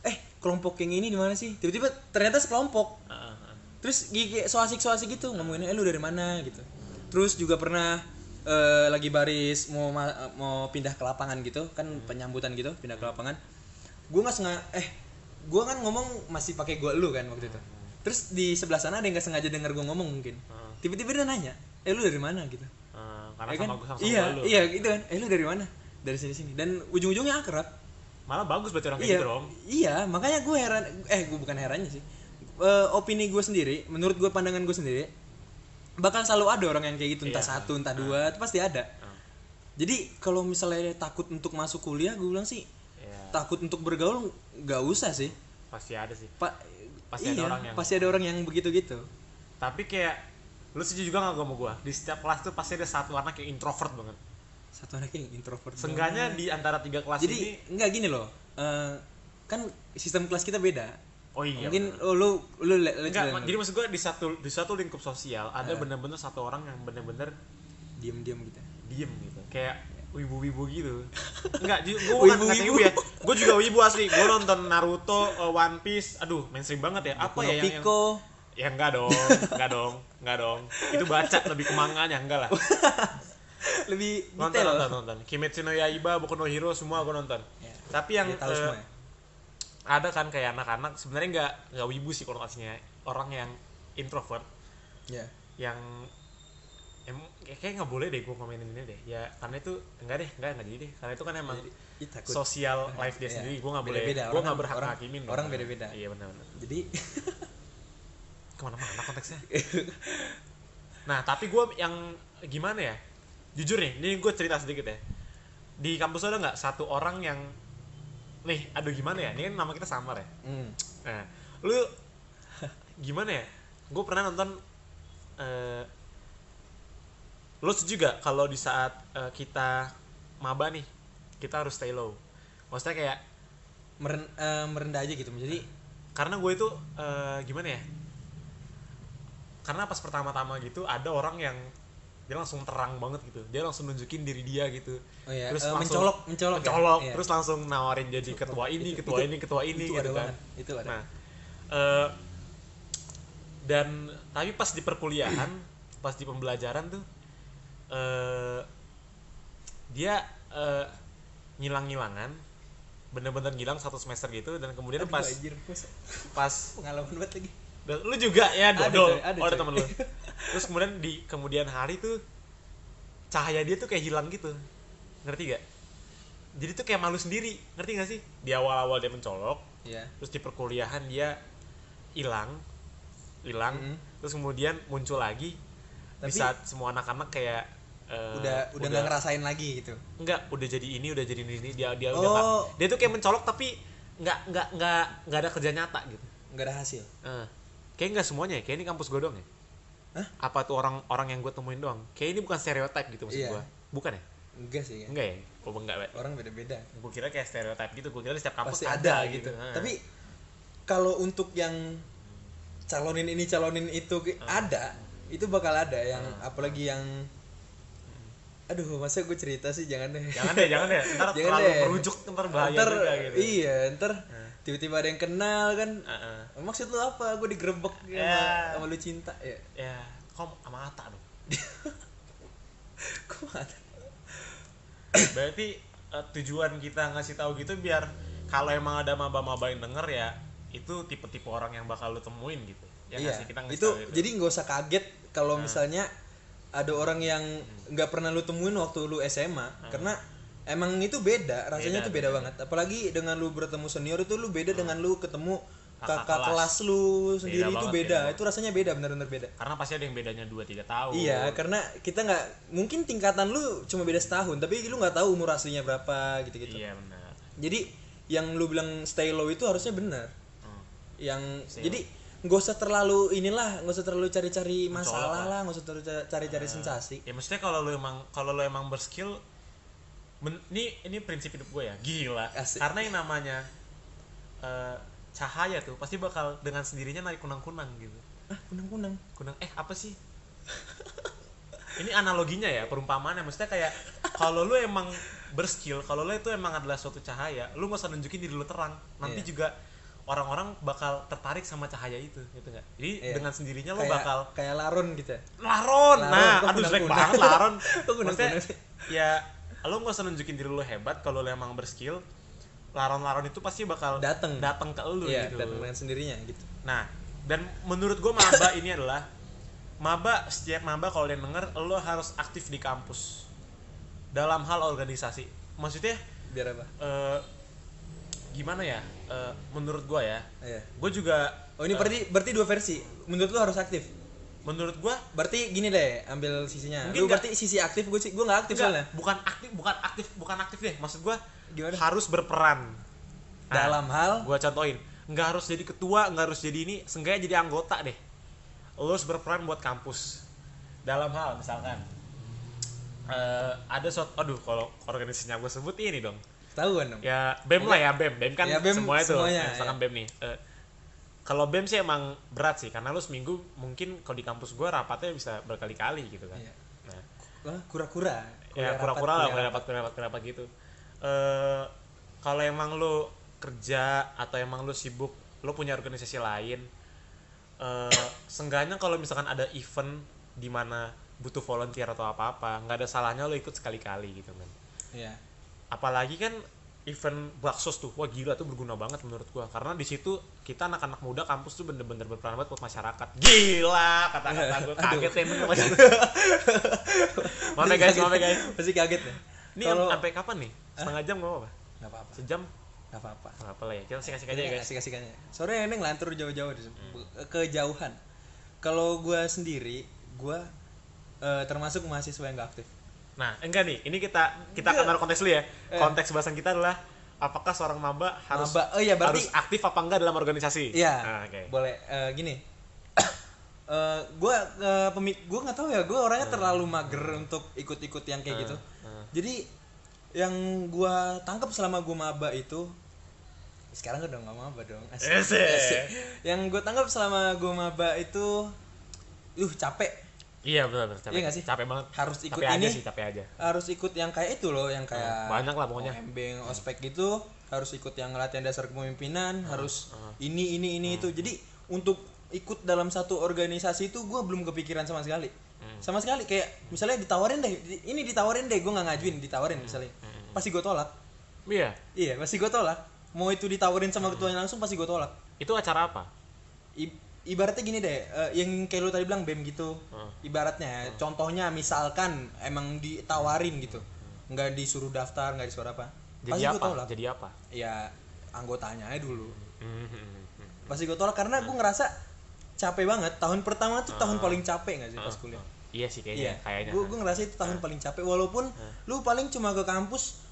[SPEAKER 1] eh kelompok yang ini di mana sih? Tiba-tiba ternyata sekelompok.
[SPEAKER 2] Ah, ah, ah.
[SPEAKER 1] Terus gigi so asik-asik gitu ngomongin eh lu dari mana gitu. Terus juga pernah eh, lagi baris mau ma- mau pindah ke lapangan gitu, kan penyambutan gitu, pindah ke lapangan. Gua nggak sengaja eh gua kan ngomong masih pakai gua lu kan waktu itu. Terus di sebelah sana ada yang nggak sengaja denger gua ngomong mungkin.
[SPEAKER 2] Ah.
[SPEAKER 1] Tiba-tiba dia nanya, "Eh lu dari mana?" gitu.
[SPEAKER 2] Ah, karena
[SPEAKER 1] Ya
[SPEAKER 2] sama
[SPEAKER 1] kan?
[SPEAKER 2] gue sama,
[SPEAKER 1] iya,
[SPEAKER 2] lu
[SPEAKER 1] iya gitu kan. Eh lu dari mana? Dari sini sini. Dan ujung-ujungnya akrab.
[SPEAKER 2] malah bagus berarti orang kayak
[SPEAKER 1] iya.
[SPEAKER 2] gitu dong
[SPEAKER 1] Iya, makanya gue heran eh gue bukan herannya sih. Eh, opini gue sendiri, menurut gue pandangan gue sendiri bakal selalu ada orang yang kayak gitu entah
[SPEAKER 2] Iya.
[SPEAKER 1] satu entah dua itu pasti ada
[SPEAKER 2] Ah,
[SPEAKER 1] jadi kalau misalnya takut untuk masuk kuliah gue bilang sih
[SPEAKER 2] iya.
[SPEAKER 1] takut untuk bergaul nggak usah sih
[SPEAKER 2] pasti ada sih
[SPEAKER 1] pak
[SPEAKER 2] Pasti ada
[SPEAKER 1] iya,
[SPEAKER 2] orang yang-
[SPEAKER 1] pasti ada orang yang begitu gitu
[SPEAKER 2] tapi kayak lu setuju juga gak gue sama gue di setiap kelas tuh pasti ada satu anak yang introvert banget
[SPEAKER 1] satu anak yang introvert banget.
[SPEAKER 2] Seenggaknya di antara tiga
[SPEAKER 1] Iya.
[SPEAKER 2] kelas
[SPEAKER 1] jadi
[SPEAKER 2] ini
[SPEAKER 1] nggak gini loh eh, kan sistem kelas kita beda
[SPEAKER 2] oh iya
[SPEAKER 1] mungkin oh, lu lu, lu, lu
[SPEAKER 2] Enggak,
[SPEAKER 1] jangan
[SPEAKER 2] jadi maksud gue di satu di satu lingkup sosial
[SPEAKER 1] Eh.
[SPEAKER 2] ada bener-bener satu orang yang bener-bener
[SPEAKER 1] diem-diem gitu
[SPEAKER 2] diem gitu kayak wibu-wibu gitu enggak gue bukan nggak
[SPEAKER 1] Wibu-wibu.
[SPEAKER 2] wibu ya gue juga wibu asli gue nonton Naruto eh, One Piece aduh mainstream banget ya
[SPEAKER 1] Kuno
[SPEAKER 2] apa ya yang, yang
[SPEAKER 1] Pico
[SPEAKER 2] ya enggak dong enggak dong enggak dong itu baca lebih ke manganya enggak lah
[SPEAKER 1] lebih
[SPEAKER 2] nonton
[SPEAKER 1] detail
[SPEAKER 2] nonton nonton Kimetsu no Yaiba Boku no Hero semua gue nonton
[SPEAKER 1] Ya.
[SPEAKER 2] tapi yang
[SPEAKER 1] Dia tahu
[SPEAKER 2] eh,
[SPEAKER 1] semua ya?
[SPEAKER 2] ada kan kayak anak-anak sebenarnya nggak nggak wibu sih konotasinya orang yang introvert
[SPEAKER 1] ya
[SPEAKER 2] yang em kayak- kayak nggak boleh deh gue komenin ini deh ya karena itu enggak deh enggak enggak jadi deh karena itu kan emang
[SPEAKER 1] Jadi, ih, takut.
[SPEAKER 2] sosial life dia
[SPEAKER 1] Iya.
[SPEAKER 2] sendiri gue nggak boleh
[SPEAKER 1] Beda-beda,
[SPEAKER 2] gue
[SPEAKER 1] orang- kan
[SPEAKER 2] nggak berhak
[SPEAKER 1] orang-
[SPEAKER 2] ngakimin
[SPEAKER 1] orang beda-beda.
[SPEAKER 2] iya benar-benar
[SPEAKER 1] jadi
[SPEAKER 2] kemana-mana konteksnya nah tapi gue yang gimana ya jujur nih ini gue cerita sedikit ya di kampus lo ada nggak satu orang yang nih aduh gimana ya ini kan nama kita samar ya
[SPEAKER 1] hmm.
[SPEAKER 2] Nah, lu gimana ya? Gue pernah nonton eh lu setuju gak kalau di saat eh, kita maba nih, kita harus stay low. Maksudnya kayak
[SPEAKER 1] Meren- eh, merendah aja gitu jadi
[SPEAKER 2] karena gue itu eh, gimana ya? Karena pas pertama-tama gitu ada orang yang dia langsung terang banget gitu. Dia langsung nunjukin diri dia gitu.
[SPEAKER 1] oh ya eh,
[SPEAKER 2] Terus langsung-
[SPEAKER 1] mencolok mencolok ya?
[SPEAKER 2] Colok,
[SPEAKER 1] Iya.
[SPEAKER 2] terus langsung nawarin jadi ketua ini,
[SPEAKER 1] itu-
[SPEAKER 2] ketua
[SPEAKER 1] itu-
[SPEAKER 2] ini, ketua ini
[SPEAKER 1] itu
[SPEAKER 2] gitu
[SPEAKER 1] ada
[SPEAKER 2] kan.
[SPEAKER 1] banget itu ada
[SPEAKER 2] Nah, eh, dan tapi pas di perkuliahan, pas di pembelajaran tuh eh dia eh, ngilang-ngilangan, bener-bener ngilang satu semester gitu dan kemudian
[SPEAKER 1] Aduh,
[SPEAKER 2] pas
[SPEAKER 1] anjir, bos.
[SPEAKER 2] pas
[SPEAKER 1] pengalaman banget lagi
[SPEAKER 2] dan lu juga ya
[SPEAKER 1] Ada,
[SPEAKER 2] dodol,
[SPEAKER 1] coy, ada,
[SPEAKER 2] oh, ada
[SPEAKER 1] coy.
[SPEAKER 2] temen lu. Terus kemudian di kemudian hari tuh cahaya dia tuh kayak hilang gitu, ngerti gak? Jadi tuh kayak malu sendiri, ngerti gak sih? Di awal-awal dia mencolok,
[SPEAKER 1] ya
[SPEAKER 2] terus di perkuliahan dia hilang hilang
[SPEAKER 1] Mhm.
[SPEAKER 2] terus kemudian muncul lagi
[SPEAKER 1] Tapi-
[SPEAKER 2] di saat semua anak-anak kayak eh,
[SPEAKER 1] udah udah nggak ngerasain lagi gitu
[SPEAKER 2] enggak udah jadi ini udah jadi ini dia dia
[SPEAKER 1] Oh.
[SPEAKER 2] udah nggak- dia tuh kayak mencolok tapi nggak nggak nggak nggak ada kerja nyata gitu
[SPEAKER 1] nggak ada hasil
[SPEAKER 2] Eh, kayak nggak semuanya ya kayak ini kampus gue doang ya
[SPEAKER 1] Hah?
[SPEAKER 2] apa tuh orang orang yang gue temuin doang kayak ini bukan stereotip gitu maksud
[SPEAKER 1] Iya.
[SPEAKER 2] gue bukan ya
[SPEAKER 1] enggak sih ya
[SPEAKER 2] enggak ya oh enggak Pak.
[SPEAKER 1] orang beda-beda
[SPEAKER 2] gue kira kayak stereotip gitu gue kira di setiap
[SPEAKER 1] pasti
[SPEAKER 2] kampus
[SPEAKER 1] ada, gitu.
[SPEAKER 2] Nah.
[SPEAKER 1] Tapi kalau untuk yang calonin ini calonin itu ki- ada, itu bakal ada yang apalagi yang aduh masa gue cerita sih jangan deh
[SPEAKER 2] jangan deh jangan deh ntar
[SPEAKER 1] Jangan
[SPEAKER 2] terlalu
[SPEAKER 1] deh.
[SPEAKER 2] merujuk ntar bahaya
[SPEAKER 1] Ntar-
[SPEAKER 2] juga gitu
[SPEAKER 1] iya ntar tiba-tiba ada yang kenal kan
[SPEAKER 2] Heeh.
[SPEAKER 1] maksud lu apa gue digerebek sama,
[SPEAKER 2] Ya.
[SPEAKER 1] sama lu cinta ya
[SPEAKER 2] ya kom sama Ata dong
[SPEAKER 1] kuat
[SPEAKER 2] berarti eh, tujuan kita ngasih tahu gitu biar kalau emang ada maba-maba yang denger ya itu tipe-tipe orang yang bakal lu temuin gitu ya nggak
[SPEAKER 1] iya
[SPEAKER 2] sih? kita ngasih
[SPEAKER 1] itu
[SPEAKER 2] tahu
[SPEAKER 1] jadi nggak usah kaget kalau misalnya ada orang yang nggak pernah lu temuin waktu lu SMA karena emang itu beda rasanya
[SPEAKER 2] Beda,
[SPEAKER 1] tuh beda, banget apalagi dengan lu bertemu senior itu lu beda dengan lu ketemu kakak,
[SPEAKER 2] Kakak kelas.
[SPEAKER 1] kelas lu sendiri itu
[SPEAKER 2] banget,
[SPEAKER 1] beda
[SPEAKER 2] beda
[SPEAKER 1] itu rasanya beda benar-benar beda
[SPEAKER 2] karena pasti ada yang bedanya 2-3 tahun
[SPEAKER 1] Iya, karena kita nggak mungkin tingkatan lu cuma beda setahun, tapi lu nggak tahu umur aslinya berapa gitu-gitu.
[SPEAKER 2] iya benar
[SPEAKER 1] Jadi yang lu bilang stay low itu harusnya benar.
[SPEAKER 2] Hmm.
[SPEAKER 1] Yang jadi nggak usah terlalu inilah, nggak usah terlalu cari-cari masalah lah, nggak usah terlalu ca- cari-cari sensasi.
[SPEAKER 2] ya maksudnya kalau lu emang kalau lu emang berskill men- ini ini prinsip hidup gue ya gila
[SPEAKER 1] Asik.
[SPEAKER 2] karena yang namanya eh, cahaya tuh pasti bakal dengan sendirinya narik kunang-kunang gitu
[SPEAKER 1] Ah, kunang-kunang.
[SPEAKER 2] kunang eh apa sih ini analoginya ya perumpamaannya maksudnya kayak kalau lu emang berskill kalau lu itu emang adalah suatu cahaya lu nggak usah nunjukin diri lu terang nanti
[SPEAKER 1] Iya.
[SPEAKER 2] juga orang-orang bakal tertarik sama cahaya itu gitu nggak jadi
[SPEAKER 1] Iya.
[SPEAKER 2] dengan sendirinya lu
[SPEAKER 1] Kayak
[SPEAKER 2] bakal
[SPEAKER 1] kayak larun gitu. ya. Laron,
[SPEAKER 2] Laron. Nah,
[SPEAKER 1] kok
[SPEAKER 2] aduh jelek
[SPEAKER 1] kunang-kunang?
[SPEAKER 2] banget Laron.
[SPEAKER 1] Kok kunang-kunang
[SPEAKER 2] Maksudnya, ya lo nggak usah nunjukin diri lo hebat kalau lo emang berskill. Laron-laron itu pasti bakal
[SPEAKER 1] Dateng.
[SPEAKER 2] datang ke lo
[SPEAKER 1] Iya,
[SPEAKER 2] gitu.
[SPEAKER 1] dan dengan sendirinya gitu.
[SPEAKER 2] Nah, dan menurut gue maba ini adalah maba setiap maba kalau dia denger lo harus aktif di kampus dalam hal organisasi. Maksudnya
[SPEAKER 1] Biar apa?
[SPEAKER 2] eh, gimana ya? Eh, menurut gue ya,
[SPEAKER 1] Iya.
[SPEAKER 2] gue juga
[SPEAKER 1] Oh, ini berarti berarti dua versi. Menurut lu harus aktif.
[SPEAKER 2] menurut gue
[SPEAKER 1] Berarti gini deh, ambil sisinya. Lu
[SPEAKER 2] Mungkin nggak-
[SPEAKER 1] berarti sisi aktif gue sih, gue nggak aktif
[SPEAKER 2] Enggak,
[SPEAKER 1] soalnya.
[SPEAKER 2] bukan aktif bukan aktif bukan aktif deh maksud gua
[SPEAKER 1] Gimana?
[SPEAKER 2] harus berperan Nah,
[SPEAKER 1] Dalam hal
[SPEAKER 2] gua contohin nggak harus jadi ketua nggak harus jadi ini seenggaknya jadi anggota deh lo harus berperan buat kampus dalam hal misalkan eh, ada suatu aduh kalau organisasinya gue sebut ini dong
[SPEAKER 1] ketahuan dong.
[SPEAKER 2] ya bem lah ya bem bem kan
[SPEAKER 1] Ya, BEM
[SPEAKER 2] semuanya tuh
[SPEAKER 1] semuanya,
[SPEAKER 2] Nah, misalkan
[SPEAKER 1] ya.
[SPEAKER 2] bem nih Eh, kalau bem sih emang berat sih karena lo seminggu mungkin kalau di kampus gua rapatnya bisa berkali-kali gitu kan
[SPEAKER 1] Iya.
[SPEAKER 2] nah,
[SPEAKER 1] Lah, kura-kura. Kuliah
[SPEAKER 2] ya
[SPEAKER 1] rapat,
[SPEAKER 2] pura-pura lah
[SPEAKER 1] kuliah
[SPEAKER 2] kuliah rapat kuliah rapat kuliah rapat gitu eh kalau emang lu kerja atau emang lu sibuk lu punya organisasi lain eh seenggaknya kalau misalkan ada event di mana butuh volunteer atau apa apa nggak ada salahnya lu ikut sekali-kali gitu kan
[SPEAKER 1] rapat. Iya.
[SPEAKER 2] apalagi kan event baksos tuh wah gila tuh berguna banget menurut gua karena di situ kita anak-anak muda kampus tuh bener-bener berperan banget buat masyarakat gila kata-kata gua kaget ya bener maksud gua. maaf ya guys maaf ya guys
[SPEAKER 1] Pasti kaget ya.
[SPEAKER 2] ini
[SPEAKER 1] Kalau
[SPEAKER 2] sampai kapan nih? Setengah jam gak apa-apa?
[SPEAKER 1] enggak apa-apa.
[SPEAKER 2] Sejam?
[SPEAKER 1] Enggak apa-apa.
[SPEAKER 2] Gak apa lah ya, kita kasih-kasih aja ya guys Hmm.
[SPEAKER 1] Asik-asik aja. Sore ini ngelantur jauh-jauh di kejauhan. Kalau gua sendiri, gua eh, termasuk mahasiswa yang gak aktif.
[SPEAKER 2] Nah, enggak nih, ini kita
[SPEAKER 1] Iya.
[SPEAKER 2] kita akan taruh konteks dulu ya Konteks bahasan kita adalah Apakah seorang maba harus
[SPEAKER 1] Eh. Maba. Oh iya, berarti-
[SPEAKER 2] harus aktif apa enggak dalam organisasi?
[SPEAKER 1] Iya.
[SPEAKER 2] Ah, Oke
[SPEAKER 1] Boleh Eh, gini. Eh, gua eh, pemi- gua nggak tahu ya, gua orangnya
[SPEAKER 2] Hmm.
[SPEAKER 1] terlalu mager untuk ikut-ikut yang kayak gitu. Jadi yang gua tangkap selama gua maba itu sekarang udah nggak maba dong.
[SPEAKER 2] Eh,
[SPEAKER 1] Asik.
[SPEAKER 2] Ese.
[SPEAKER 1] Asik. Yang gua tangkap selama gua maba itu uh capek.
[SPEAKER 2] Iya benar benar capek.
[SPEAKER 1] Iya nggak sih?
[SPEAKER 2] Capek banget.
[SPEAKER 1] Harus ikut
[SPEAKER 2] capek aja
[SPEAKER 1] ini. Iya.
[SPEAKER 2] sih, Hmm, capek aja.
[SPEAKER 1] Harus ikut yang kayak itu loh, yang kayak
[SPEAKER 2] Banyak lah pokoknya.
[SPEAKER 1] OMB, yang ospek gitu, harus ikut yang latihan dasar kepemimpinan,
[SPEAKER 2] Ah,
[SPEAKER 1] harus ini ini ini itu. Jadi untuk ikut dalam satu organisasi itu gua belum kepikiran sama sekali.
[SPEAKER 2] Hmm.
[SPEAKER 1] Sama sekali kayak misalnya ditawarin deh, di- ini ditawarin deh, gua nggak ngajuin,
[SPEAKER 2] Hmm.
[SPEAKER 1] ditawarin misalnya. Pasti gua tolak.
[SPEAKER 2] Iya.
[SPEAKER 1] Iya, pasti gua tolak. Mau itu ditawarin sama
[SPEAKER 2] Hmm.
[SPEAKER 1] ketuanya langsung pasti gua tolak.
[SPEAKER 2] Itu acara apa?
[SPEAKER 1] I- ibaratnya gini deh eh, yang kayak lu tadi bilang bem gitu
[SPEAKER 2] Hmm.
[SPEAKER 1] ibaratnya contohnya misalkan emang ditawarin gitu nggak disuruh daftar nggak disuruh apa
[SPEAKER 2] Hmm. Jadi
[SPEAKER 1] gua
[SPEAKER 2] apa?
[SPEAKER 1] tolak
[SPEAKER 2] Jadi apa?
[SPEAKER 1] ya anggotanya aja dulu
[SPEAKER 2] Mhm.
[SPEAKER 1] pasti gue tolak karena gue ngerasa capek banget tahun pertama tuh tahun paling capek nggak sih pas kuliah
[SPEAKER 2] Ah. Iya sih
[SPEAKER 1] Iya,
[SPEAKER 2] kayaknya, kayaknya. Ah.
[SPEAKER 1] Gue ngerasa itu tahun paling capek walaupun lu paling cuma ke kampus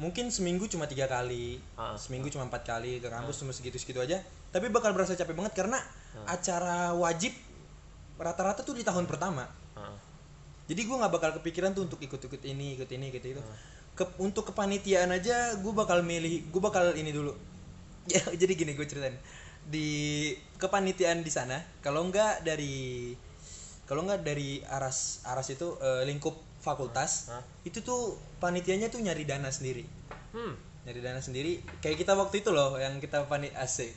[SPEAKER 1] mungkin seminggu cuma tiga kali,
[SPEAKER 2] Ah.
[SPEAKER 1] seminggu cuma empat kali ke kampus cuma segitu-segitu aja. Tapi bakal berasa capek banget karena
[SPEAKER 2] Ah.
[SPEAKER 1] acara wajib rata-rata tuh di tahun pertama.
[SPEAKER 2] Heeh.
[SPEAKER 1] Jadi gue nggak bakal kepikiran tuh untuk ikut-ikut ini, ikut ini, ikut itu. Ke- untuk kepanitiaan aja gue bakal milih, gue bakal ini dulu. Ya, jadi gini gue ceritain di kepanitiaan di sana, kalau nggak dari kalau nggak dari aras aras itu eh, lingkup fakultas, itu tuh panitianya tuh nyari dana sendiri.
[SPEAKER 2] Hmm.
[SPEAKER 1] nyari dana sendiri kayak kita waktu itu loh yang kita panik asik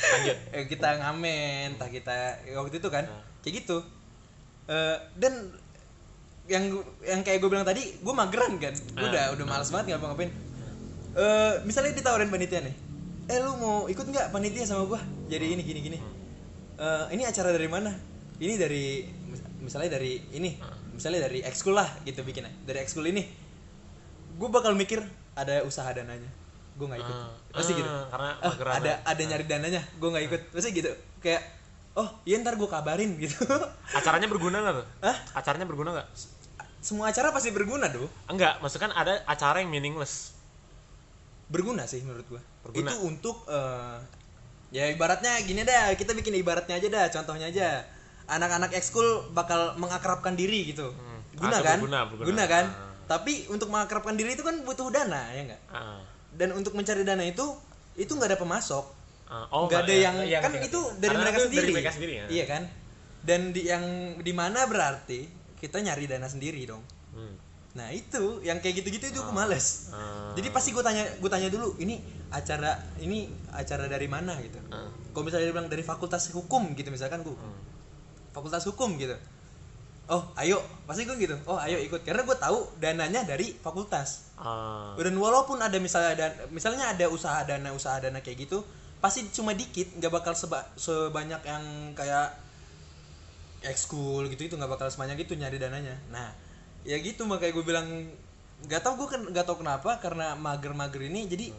[SPEAKER 2] Lanjut. Nah.
[SPEAKER 1] Eh, kita ngamen entah kita waktu itu kan kayak gitu Eh, dan yang gu- yang kayak gue bilang tadi gue mageran kan gue
[SPEAKER 2] Nah.
[SPEAKER 1] udah udah malas banget ngapa ngapain Eh, misalnya ditawarin panitia nih eh lu mau ikut nggak panitia sama gue jadi
[SPEAKER 2] Hmm.
[SPEAKER 1] ini gini gini Eh, ini acara dari mana ini dari mis- misalnya dari ini
[SPEAKER 2] Hmm.
[SPEAKER 1] misalnya dari ekskul lah gitu bikinnya dari ekskul ini gue bakal mikir ada usaha dananya gue nggak ikut
[SPEAKER 2] Ah,
[SPEAKER 1] pasti
[SPEAKER 2] ah,
[SPEAKER 1] gitu
[SPEAKER 2] karena
[SPEAKER 1] Ah,
[SPEAKER 2] mageran,
[SPEAKER 1] ada ada nyari dananya gue nggak
[SPEAKER 2] Ah.
[SPEAKER 1] ikut pasti gitu kayak oh iya ntar gue kabarin gitu
[SPEAKER 2] Acaranya berguna nggak tuh?
[SPEAKER 1] Hah?
[SPEAKER 2] Acaranya berguna nggak?
[SPEAKER 1] semua acara pasti berguna do
[SPEAKER 2] Enggak, maksudnya kan ada acara yang meaningless.
[SPEAKER 1] berguna sih menurut gue
[SPEAKER 2] Berguna.
[SPEAKER 1] itu untuk eh, ya ibaratnya gini dah kita bikin ibaratnya aja dah contohnya aja anak-anak ekskul bakal mengakrabkan diri gitu
[SPEAKER 2] Hmm.
[SPEAKER 1] guna
[SPEAKER 2] Ah, itu
[SPEAKER 1] kan
[SPEAKER 2] berguna, berguna.
[SPEAKER 1] Guna kan
[SPEAKER 2] Ah.
[SPEAKER 1] tapi untuk mengakrabkan diri itu kan butuh dana ya enggak
[SPEAKER 2] Ah.
[SPEAKER 1] dan untuk mencari dana itu itu nggak ada pemasok
[SPEAKER 2] Ah, oh,
[SPEAKER 1] nggak ada yang
[SPEAKER 2] iya,
[SPEAKER 1] kan
[SPEAKER 2] ngerti,
[SPEAKER 1] itu
[SPEAKER 2] ngerti.
[SPEAKER 1] dari
[SPEAKER 2] Karena
[SPEAKER 1] mereka
[SPEAKER 2] itu
[SPEAKER 1] sendiri.
[SPEAKER 2] Dari mereka sendiri ya.
[SPEAKER 1] Iya kan? Dan di yang di mana berarti kita nyari dana sendiri dong.
[SPEAKER 2] Hmm.
[SPEAKER 1] Nah, itu yang kayak gitu-gitu itu aku males.
[SPEAKER 2] Ah.
[SPEAKER 1] Jadi pasti gue tanya gue tanya dulu ini acara ini acara dari mana gitu.
[SPEAKER 2] Ah.
[SPEAKER 1] Kalau misalnya dia bilang dari fakultas hukum gitu misalkan gue. Fakultas hukum gitu. Oh, ayo. Pasti gue gitu. Oh, ayo ikut karena gue tahu dananya dari fakultas
[SPEAKER 2] Ah.
[SPEAKER 1] dan walaupun ada misalnya ada misalnya ada usaha dana usaha dana kayak gitu pasti cuma dikit nggak bakal seba- sebanyak yang kayak ekskul gitu itu nggak bakal sebanyak itu nyari dananya nah ya gitu makanya gue bilang nggak tau gue kan nggak tau kenapa karena mager-mager ini jadi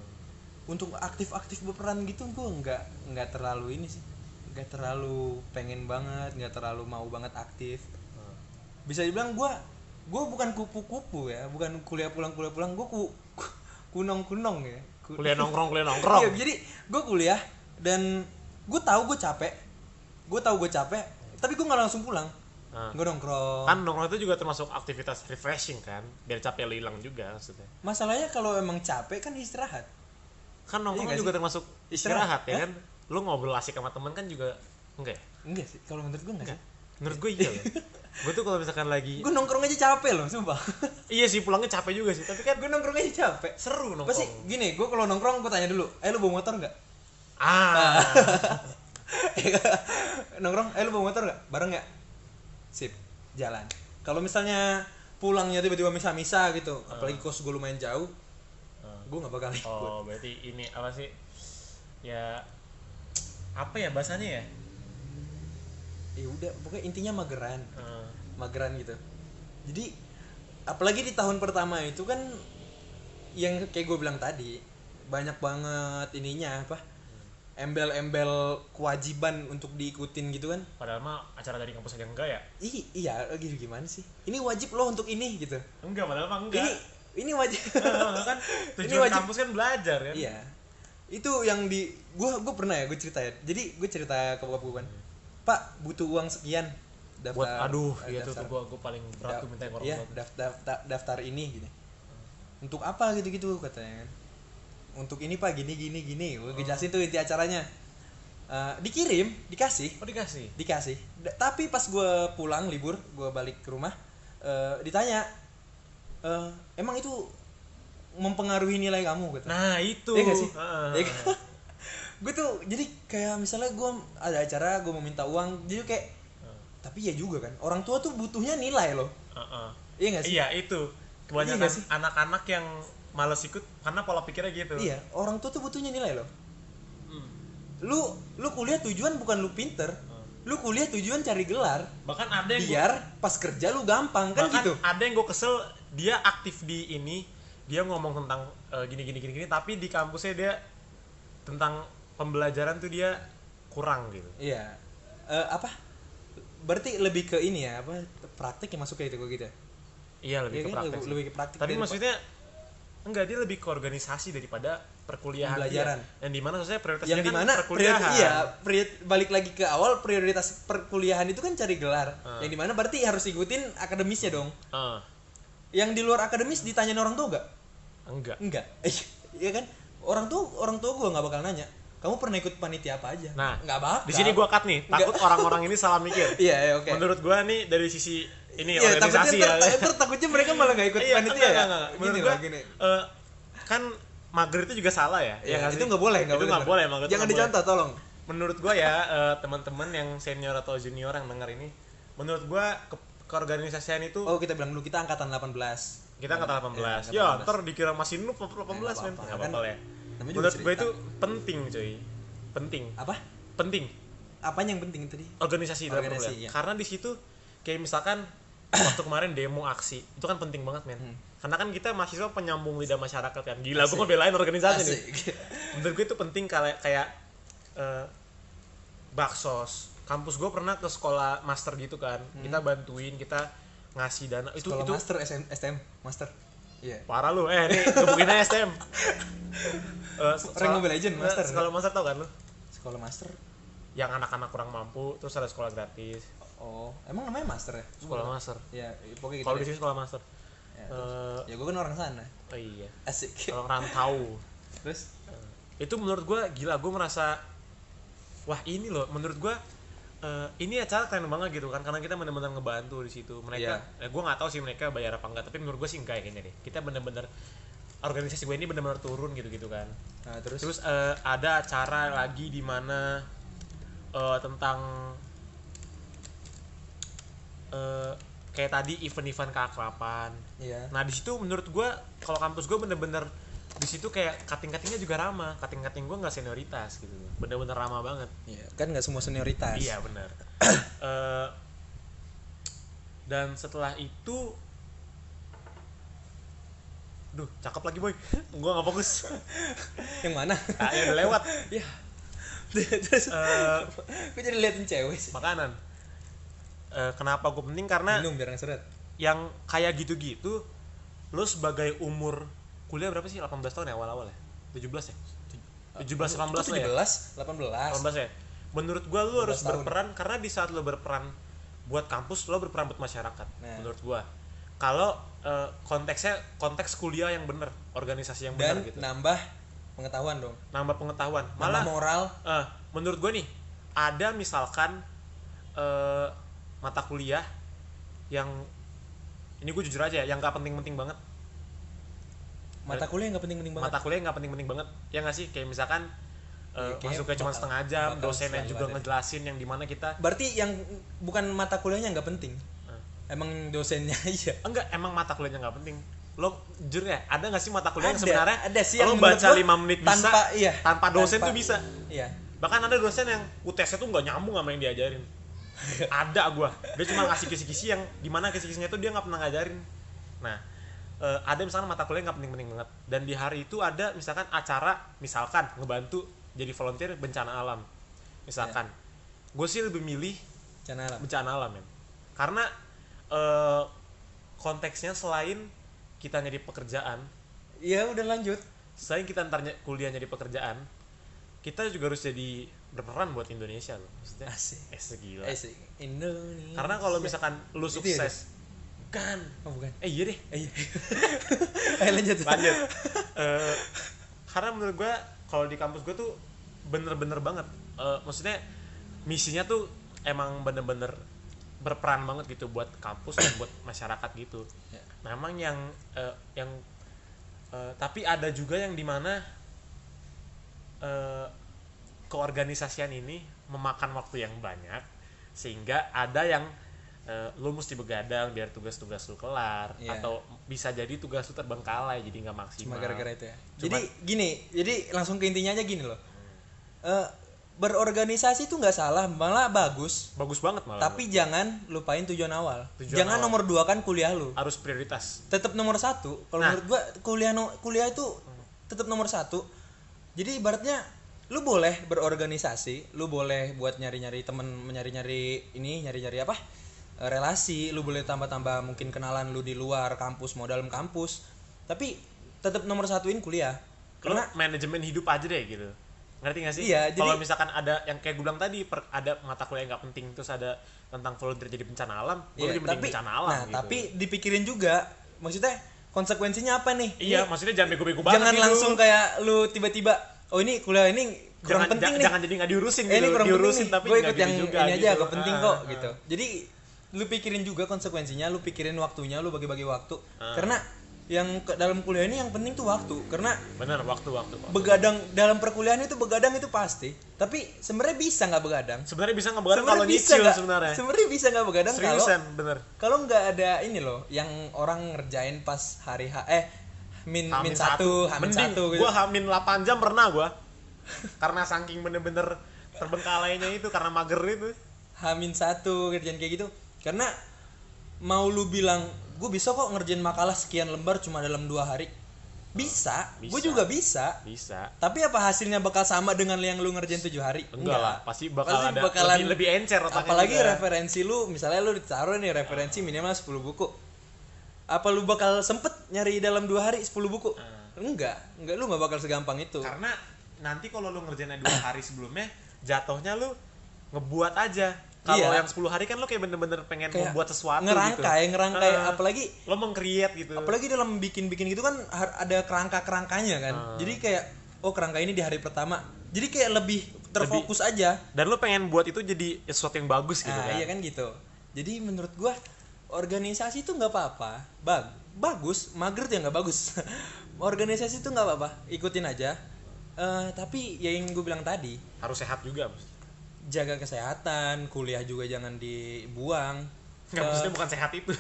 [SPEAKER 1] untuk aktif-aktif berperan gitu gue nggak nggak terlalu ini sih nggak terlalu pengen banget nggak terlalu mau banget aktif bisa dibilang gua gua bukan kupu-kupu ya bukan kuliah pulang kuliah pulang gua ku, ku- kunong-kunong ya Ku-
[SPEAKER 2] Kuliah nongkrong, kuliah nongkrong.
[SPEAKER 1] Iya, jadi gua kuliah dan gua tahu gua capek gua tahu gua capek tapi gua nggak langsung pulang
[SPEAKER 2] Ah.
[SPEAKER 1] gua nongkrong
[SPEAKER 2] Kan nongkrong itu juga termasuk aktivitas refreshing kan, biar capek lo hilang juga maksudnya.
[SPEAKER 1] masalahnya kalau emang capek kan istirahat
[SPEAKER 2] Kan nongkrong
[SPEAKER 1] Iya nggak
[SPEAKER 2] juga termasuk
[SPEAKER 1] Istirahat,
[SPEAKER 2] istirahat ya kan? Lu ngobrol asik sama temen kan juga enggak ya?
[SPEAKER 1] enggak sih kalau menurut gua enggak sih
[SPEAKER 2] Menurut gue iya loh. gue tuh kalau misalkan lagi
[SPEAKER 1] gua nongkrong aja capek loh sumpah
[SPEAKER 2] iya sih pulangnya capek juga sih, tapi kan
[SPEAKER 1] gua nongkrong aja capek
[SPEAKER 2] seru nongkrong.
[SPEAKER 1] pasti gini gua kalau nongkrong gua tanya dulu eh lu bawa motor nggak
[SPEAKER 2] Ah.
[SPEAKER 1] nongkrong eh lu bawa motor nggak bareng nggak sip jalan kalau misalnya pulangnya tiba-tiba misa-misa gitu apalagi kos gue lumayan jauh gue nggak bakal ikut
[SPEAKER 2] Oh, berarti ini apa sih? Ya apa ya bahasanya ya?
[SPEAKER 1] ya udah pokoknya intinya mageran
[SPEAKER 2] Eh,
[SPEAKER 1] mageran gitu jadi apalagi di tahun pertama itu kan yang kayak gue bilang tadi banyak banget ininya apa embel-embel kewajiban untuk diikutin gitu kan
[SPEAKER 2] padahal mah acara dari kampus aja enggak ya?
[SPEAKER 1] Ih, iya gitu gimana sih ini wajib lo untuk ini gitu
[SPEAKER 2] Enggak, padahal mah enggak.
[SPEAKER 1] ini ini wajib
[SPEAKER 2] Eh, kan
[SPEAKER 1] Ini
[SPEAKER 2] tujuan
[SPEAKER 1] wajib.
[SPEAKER 2] kampus kan belajar kan?
[SPEAKER 1] Iya. Itu yang di gua gua pernah ya gua cerita ya. Jadi gua cerita ke bokap gua kan. Pak, butuh uang sekian daftar.
[SPEAKER 2] Buat aduh,
[SPEAKER 1] eh,
[SPEAKER 2] iya tuh
[SPEAKER 1] daftar-
[SPEAKER 2] tuh gua gua paling berat tuh minta yang orang
[SPEAKER 1] Iya,
[SPEAKER 2] tua tuh.
[SPEAKER 1] daftar, daftar daftar ini gini. Untuk apa gitu-gitu katanya kan. Untuk ini Pak gini gini gini. Gua jelasin tuh inti acaranya. Eh, dikirim, dikasih,
[SPEAKER 2] Oh, dikasih.
[SPEAKER 1] dikasih. Da- tapi pas gua pulang libur, gua balik ke rumah, eh, ditanya, "Eh, emang itu mempengaruhi nilai kamu gitu?
[SPEAKER 2] Nah, ah. itu.
[SPEAKER 1] Iya gak sih?
[SPEAKER 2] Heeh.
[SPEAKER 1] gue tuh jadi kayak misalnya gue ada acara gue mau minta uang jadi kayak tapi ya juga kan orang tua tuh butuhnya nilai loh
[SPEAKER 2] Heeh.
[SPEAKER 1] iya gak sih
[SPEAKER 2] Iya, itu.
[SPEAKER 1] Iya
[SPEAKER 2] Kebanyakan
[SPEAKER 1] gak sih?
[SPEAKER 2] anak-anak yang males ikut karena pola pikirnya gitu.
[SPEAKER 1] Iya, orang tua tuh butuhnya nilai loh
[SPEAKER 2] Hmm.
[SPEAKER 1] lu lu kuliah tujuan bukan lu pinter lu kuliah tujuan cari gelar
[SPEAKER 2] Bahkan ada yang Hmm. Iya,
[SPEAKER 1] biar
[SPEAKER 2] gua-
[SPEAKER 1] pas kerja lu gampang Iya, kan
[SPEAKER 2] Bahkan
[SPEAKER 1] gitu
[SPEAKER 2] ada yang gue kesel dia aktif di ini dia ngomong tentang eh, gini gini gini gini tapi di kampusnya dia tentang pembelajaran tuh dia kurang gitu
[SPEAKER 1] iya Eh, apa berarti lebih ke ini ya apa praktik yang masuk kayak itu gitu ya? Iya
[SPEAKER 2] iya lebih ke
[SPEAKER 1] kan,
[SPEAKER 2] praktek
[SPEAKER 1] lebih-
[SPEAKER 2] sih.
[SPEAKER 1] lebih ke praktik
[SPEAKER 2] tapi
[SPEAKER 1] dari-
[SPEAKER 2] maksudnya enggak dia lebih ke organisasi daripada perkuliahan
[SPEAKER 1] Pembelajaran.
[SPEAKER 2] dia. yang dimana maksudnya prioritasnya
[SPEAKER 1] yang
[SPEAKER 2] kan
[SPEAKER 1] dimana
[SPEAKER 2] perkuliahan
[SPEAKER 1] priori- iya priori- balik lagi ke awal prioritas perkuliahan itu kan cari gelar
[SPEAKER 2] Ah.
[SPEAKER 1] yang dimana berarti harus ikutin akademisnya dong
[SPEAKER 2] Eh,
[SPEAKER 1] yang di luar akademis ditanyain orang tua gak?
[SPEAKER 2] enggak
[SPEAKER 1] enggak iya kan orang tua orang tua gue nggak bakal nanya kamu pernah ikut panitia apa aja
[SPEAKER 2] Nah,
[SPEAKER 1] nggak bakal
[SPEAKER 2] di sini gue cut nih takut orang-orang ini salah mikir
[SPEAKER 1] iya iya, oke
[SPEAKER 2] menurut gue nih dari sisi ini
[SPEAKER 1] Iya, takutnya
[SPEAKER 2] organisasi
[SPEAKER 1] ntar-
[SPEAKER 2] ya
[SPEAKER 1] ntar takutnya mereka malah nggak ikut
[SPEAKER 2] Iya,
[SPEAKER 1] panitia ya
[SPEAKER 2] enggak, enggak, enggak.
[SPEAKER 1] gini
[SPEAKER 2] Menurut
[SPEAKER 1] loh
[SPEAKER 2] gua,
[SPEAKER 1] gini
[SPEAKER 2] eh, kan mager itu juga salah ya.
[SPEAKER 1] Ya,
[SPEAKER 2] nggak
[SPEAKER 1] itu
[SPEAKER 2] sih?
[SPEAKER 1] nggak boleh, nggak
[SPEAKER 2] Itu
[SPEAKER 1] boleh.
[SPEAKER 2] nggak
[SPEAKER 1] Bro.
[SPEAKER 2] boleh, mager itu
[SPEAKER 1] Jangan
[SPEAKER 2] nggak boleh.
[SPEAKER 1] dicontoh, tolong.
[SPEAKER 2] menurut gua ya eh, teman-teman yang senior atau junior yang denger ini menurut gua ke keorganisasian itu
[SPEAKER 1] Oh, kita bilang dulu kita angkatan 18.
[SPEAKER 2] kita kata
[SPEAKER 1] Iya,
[SPEAKER 2] 18 ya, ntar dikira masih noob 18 men
[SPEAKER 1] apa-apa,
[SPEAKER 2] nggak
[SPEAKER 1] kan
[SPEAKER 2] apa-apa lah ya
[SPEAKER 1] namanya juga
[SPEAKER 2] menurut gua
[SPEAKER 1] cerita.
[SPEAKER 2] itu penting cuy penting
[SPEAKER 1] Apa?
[SPEAKER 2] penting
[SPEAKER 1] Apanya yang penting tadi?
[SPEAKER 2] organisasi dalam
[SPEAKER 1] Organisasi,
[SPEAKER 2] perkuliahan.
[SPEAKER 1] iya.
[SPEAKER 2] karena di situ kayak misalkan waktu kemarin demo aksi itu kan penting banget men
[SPEAKER 1] Hmm.
[SPEAKER 2] karena kan kita mahasiswa penyambung lidah masyarakat kan gila gua ngebelain organisasi nih
[SPEAKER 1] Asik.
[SPEAKER 2] menurut gue itu penting kayak kayak eh, baksos kampus gue pernah ke sekolah master gitu kan kita bantuin kita ngasih dana itu
[SPEAKER 1] Hmm. Sekolah
[SPEAKER 2] itu
[SPEAKER 1] master SM, STM, master. Iya.
[SPEAKER 2] parah lu eh nih gebukin aja STM Eh, se-
[SPEAKER 1] Rank
[SPEAKER 2] sekolah-
[SPEAKER 1] Mobile Legends,
[SPEAKER 2] eh,
[SPEAKER 1] master. ya?
[SPEAKER 2] sekolah master tau kan lu
[SPEAKER 1] Sekolah master.
[SPEAKER 2] yang anak-anak kurang mampu terus ada sekolah gratis
[SPEAKER 1] Oh, emang namanya master ya?
[SPEAKER 2] sekolah master
[SPEAKER 1] Ya, pokoknya gitu.
[SPEAKER 2] kalau di
[SPEAKER 1] deh.
[SPEAKER 2] sini sekolah master
[SPEAKER 1] Ya,
[SPEAKER 2] Eh,
[SPEAKER 1] terus. ya gue kan orang sana.
[SPEAKER 2] oh iya
[SPEAKER 1] Asik.
[SPEAKER 2] orang rantau
[SPEAKER 1] Terus
[SPEAKER 2] itu menurut gua gila gue merasa wah ini loh menurut gua eh, ini acara keren banget gitu kan karena kita bener-bener ngebantu di situ mereka
[SPEAKER 1] Iya.
[SPEAKER 2] eh, gua nggak tahu sih mereka bayar apa enggak tapi menurut gua sih enggak ya kayaknya deh kita bener-bener organisasi gue ini bener-bener turun gitu-gitu kan
[SPEAKER 1] nah, terus,
[SPEAKER 2] terus eh, ada acara lagi di mana eh, tentang eh, kayak tadi event-event keakraban
[SPEAKER 1] iya.
[SPEAKER 2] Nah di situ menurut gua kalau kampus gua bener-bener di situ kayak kating-katingnya juga ramah, kating-kating gua nggak senioritas gitu, bener-bener ramah banget.
[SPEAKER 1] Iya, kan nggak semua senioritas.
[SPEAKER 2] Iya bener. Eh, dan setelah itu, duh cakep lagi boy, gua nggak fokus,
[SPEAKER 1] Yang mana?
[SPEAKER 2] ah, ya udah lewat.
[SPEAKER 1] Iya. terus
[SPEAKER 2] Eh,
[SPEAKER 1] gue jadi liatin cewek sih.
[SPEAKER 2] makanan. Eh, kenapa gue penting karena
[SPEAKER 1] Minum biar nggak seret.
[SPEAKER 2] yang kayak gitu-gitu, lo sebagai umur kuliah berapa sih 18 tahun ya awal-awal ya, 17 ya, 17
[SPEAKER 1] Ah,
[SPEAKER 2] 18 lah ya.
[SPEAKER 1] 17, 18.
[SPEAKER 2] 18 ya. Menurut gua lu
[SPEAKER 1] 18
[SPEAKER 2] harus
[SPEAKER 1] tahun.
[SPEAKER 2] berperan karena di saat lu berperan buat kampus lu berperan buat masyarakat.
[SPEAKER 1] Nah.
[SPEAKER 2] Menurut gua. Kalau eh, konteksnya konteks kuliah yang bener organisasi yang
[SPEAKER 1] Dan nah
[SPEAKER 2] bener gitu.
[SPEAKER 1] nambah pengetahuan dong.
[SPEAKER 2] Nambah pengetahuan.
[SPEAKER 1] Malah
[SPEAKER 2] Malah
[SPEAKER 1] moral.
[SPEAKER 2] eh, menurut gua nih ada misalkan eh, mata kuliah yang ini gue jujur aja ya, yang gak penting-penting banget.
[SPEAKER 1] Mata kuliah nggak penting-penting banget.
[SPEAKER 2] Mata kuliah yang gak penting-penting banget. Ya nggak sih? Kayak misalkan eh,
[SPEAKER 1] Iya, kayaknya
[SPEAKER 2] masuknya cuma
[SPEAKER 1] bakal-
[SPEAKER 2] setengah jam,
[SPEAKER 1] bakal
[SPEAKER 2] dosennya
[SPEAKER 1] selalu
[SPEAKER 2] juga
[SPEAKER 1] ada.
[SPEAKER 2] ngejelasin yang dimana kita
[SPEAKER 1] Berarti yang bukan mata kuliahnya nggak penting. Emang dosennya iya.
[SPEAKER 2] enggak emang mata kuliahnya nggak penting lo jujur ya ada nggak sih mata kuliah yang
[SPEAKER 1] Ada,
[SPEAKER 2] sebenarnya
[SPEAKER 1] ada sih
[SPEAKER 2] lo
[SPEAKER 1] yang menurut
[SPEAKER 2] baca
[SPEAKER 1] gua
[SPEAKER 2] 5 menit bisa
[SPEAKER 1] tanpa- iya,
[SPEAKER 2] tanpa dosen
[SPEAKER 1] tanpa-
[SPEAKER 2] tuh bisa
[SPEAKER 1] Iya.
[SPEAKER 2] bahkan ada dosen yang UTS-nya tuh nggak nyambung sama yang diajarin ada gua dia cuma ngasih kisi-kisi yang dimana kisi-kisinya tuh dia nggak pernah ngajarin nah eh, ada misalkan mata kuliah yang nggak penting-penting banget dan di hari itu ada misalkan acara misalkan ngebantu jadi volunteer bencana alam misalkan gue sih lebih milih
[SPEAKER 1] Bencana alam.
[SPEAKER 2] bencana alam men karena eh, konteksnya selain kita nyari pekerjaan
[SPEAKER 1] Iya, udah lanjut.
[SPEAKER 2] selain kita ntar nye- kuliah nyari pekerjaan kita juga harus jadi berperan buat Indonesia loh maksudnya
[SPEAKER 1] Asik.
[SPEAKER 2] eh segila
[SPEAKER 1] Eh, sih, Indonesia.
[SPEAKER 2] karena kalau misalkan lu
[SPEAKER 1] Itu ya,
[SPEAKER 2] sukses kan
[SPEAKER 1] oh, bukan.
[SPEAKER 2] eh iya deh
[SPEAKER 1] Eh, iya. Ayo lanjut.
[SPEAKER 2] lanjut Eh, karena menurut gua kalau di kampus gua tuh bener-bener banget Eh, maksudnya misinya tuh emang bener-bener berperan banget gitu buat kampus dan buat masyarakat gitu
[SPEAKER 1] Ya.
[SPEAKER 2] memang yang eh, yang eh, tapi ada juga yang dimana eh, keorganisasian ini memakan waktu yang banyak sehingga ada yang eh, lu mesti begadang biar tugas-tugas lu kelar
[SPEAKER 1] Iya.
[SPEAKER 2] atau bisa jadi tugas lu terbengkalai jadi nggak maksimal
[SPEAKER 1] Cuma gara-gara itu ya.
[SPEAKER 2] Cuma-
[SPEAKER 1] Jadi gini, jadi langsung ke intinya aja gini loh. Eh, berorganisasi itu nggak salah, malah bagus.
[SPEAKER 2] bagus banget malah
[SPEAKER 1] Tapi jangan lupain tujuan awal.
[SPEAKER 2] Tujuan
[SPEAKER 1] jangan
[SPEAKER 2] awal.
[SPEAKER 1] nomor dua kan kuliah lu.
[SPEAKER 2] harus prioritas
[SPEAKER 1] Tetap nomor satu. Kalau
[SPEAKER 2] Nah.
[SPEAKER 1] menurut gua kuliah no- kuliah itu tetap nomor satu. Jadi ibaratnya lu boleh berorganisasi, lu boleh buat nyari-nyari temen, nyari-nyari ini, nyari-nyari apa? Eh, relasi, lu boleh tambah-tambah mungkin kenalan lu di luar kampus, mau dalam kampus. Tapi tetap nomor satuin kuliah.
[SPEAKER 2] lu
[SPEAKER 1] Karena
[SPEAKER 2] manajemen hidup aja deh gitu ngerti gak sih
[SPEAKER 1] Iya,
[SPEAKER 2] kalau
[SPEAKER 1] jadi-
[SPEAKER 2] misalkan ada yang kayak gue bilang tadi per- ada mata kuliah yang nggak penting terus ada tentang volunteer jadi bencana alam gue
[SPEAKER 1] Iya,
[SPEAKER 2] lebih mending bencana alam
[SPEAKER 1] nah,
[SPEAKER 2] gitu.
[SPEAKER 1] tapi dipikirin juga. Maksudnya konsekuensinya apa nih?
[SPEAKER 2] iya maksudnya jangan bego-bego banget
[SPEAKER 1] jangan
[SPEAKER 2] gitu.
[SPEAKER 1] langsung kayak lu tiba-tiba oh ini kuliah ini
[SPEAKER 2] jangan,
[SPEAKER 1] kurang penting
[SPEAKER 2] ja-
[SPEAKER 1] nih.
[SPEAKER 2] jangan jadi nggak diurusin gitu,
[SPEAKER 1] eh, ini kurang
[SPEAKER 2] diurusin
[SPEAKER 1] penting nih.
[SPEAKER 2] tapi
[SPEAKER 1] Gua
[SPEAKER 2] nggak
[SPEAKER 1] ikut
[SPEAKER 2] gitu
[SPEAKER 1] yang
[SPEAKER 2] juga
[SPEAKER 1] ini aja
[SPEAKER 2] gitu.
[SPEAKER 1] gak penting
[SPEAKER 2] Ah,
[SPEAKER 1] kok
[SPEAKER 2] ah. Ah.
[SPEAKER 1] gitu. Jadi lu pikirin juga konsekuensinya, lu pikirin waktunya, lu bagi-bagi waktu. Karena yang ke dalam kuliah ini yang penting tuh waktu karena
[SPEAKER 2] Bener, waktu waktu. waktu.
[SPEAKER 1] begadang dalam perkuliahan itu begadang itu pasti tapi sebenarnya bisa nggak begadang
[SPEAKER 2] sebenarnya bisa ngebegarin
[SPEAKER 1] sebenarnya
[SPEAKER 2] kalau
[SPEAKER 1] bisa
[SPEAKER 2] nyicil
[SPEAKER 1] nggak-
[SPEAKER 2] sebenarnya.
[SPEAKER 1] sebenarnya bisa nggak begadang kalau
[SPEAKER 2] Seriusan, bener.
[SPEAKER 1] kalau nggak ada ini loh yang orang ngerjain pas hari H eh min min satu hamin
[SPEAKER 2] Mending
[SPEAKER 1] satu gitu
[SPEAKER 2] Gua hamin 8 jam pernah gua. karena saking bener-bener terbengkalainya itu karena mager itu.
[SPEAKER 1] hamin satu kerjaan kayak gitu karena mau lu bilang gue bisa kok ngerjain makalah sekian lembar cuma dalam dua hari bisa,
[SPEAKER 2] Bisa.
[SPEAKER 1] gue juga bisa
[SPEAKER 2] Bisa.
[SPEAKER 1] tapi apa hasilnya bakal sama dengan yang lu ngerjain tujuh hari
[SPEAKER 2] Enggak lah, pasti bakal
[SPEAKER 1] Pasti
[SPEAKER 2] ada
[SPEAKER 1] bakalan-
[SPEAKER 2] lebih, lebih encer otaknya.
[SPEAKER 1] apalagi
[SPEAKER 2] juga.
[SPEAKER 1] referensi lu misalnya lu ditaruh nih referensi minimal 10 buku apa lu bakal sempet nyari dalam dua hari 10 buku
[SPEAKER 2] Hmm.
[SPEAKER 1] enggak enggak lu nggak bakal segampang itu
[SPEAKER 2] karena nanti kalau lu ngerjainnya dua hari sebelumnya, jatuhnya lu ngebuat aja. Kalau
[SPEAKER 1] Iya.
[SPEAKER 2] yang 10 hari kan lu kayak bener-bener pengen
[SPEAKER 1] Kayak
[SPEAKER 2] membuat sesuatu
[SPEAKER 1] ngerangkai
[SPEAKER 2] gitu.
[SPEAKER 1] ngerangkai
[SPEAKER 2] Heeh.
[SPEAKER 1] apalagi
[SPEAKER 2] lo meng-create gitu.
[SPEAKER 1] apalagi dalam bikin-bikin gitu kan har- ada kerangka-kerangkanya kan
[SPEAKER 2] Ah.
[SPEAKER 1] jadi kayak oh kerangka ini di hari pertama jadi kayak lebih terfokus aja
[SPEAKER 2] Dan lu pengen buat itu jadi sesuatu yang bagus gitu
[SPEAKER 1] nah,
[SPEAKER 2] kan.
[SPEAKER 1] iya kan gitu jadi menurut gua organisasi itu nggak apa-apa bag bagus mager tuh ya nggak bagus organisasi itu nggak apa-apa ikutin aja Eh, tapi ya yang gue bilang tadi
[SPEAKER 2] Harus sehat juga. Bos.
[SPEAKER 1] jaga kesehatan kuliah juga jangan dibuang
[SPEAKER 2] Nggak, maksudnya bukan sehat itu.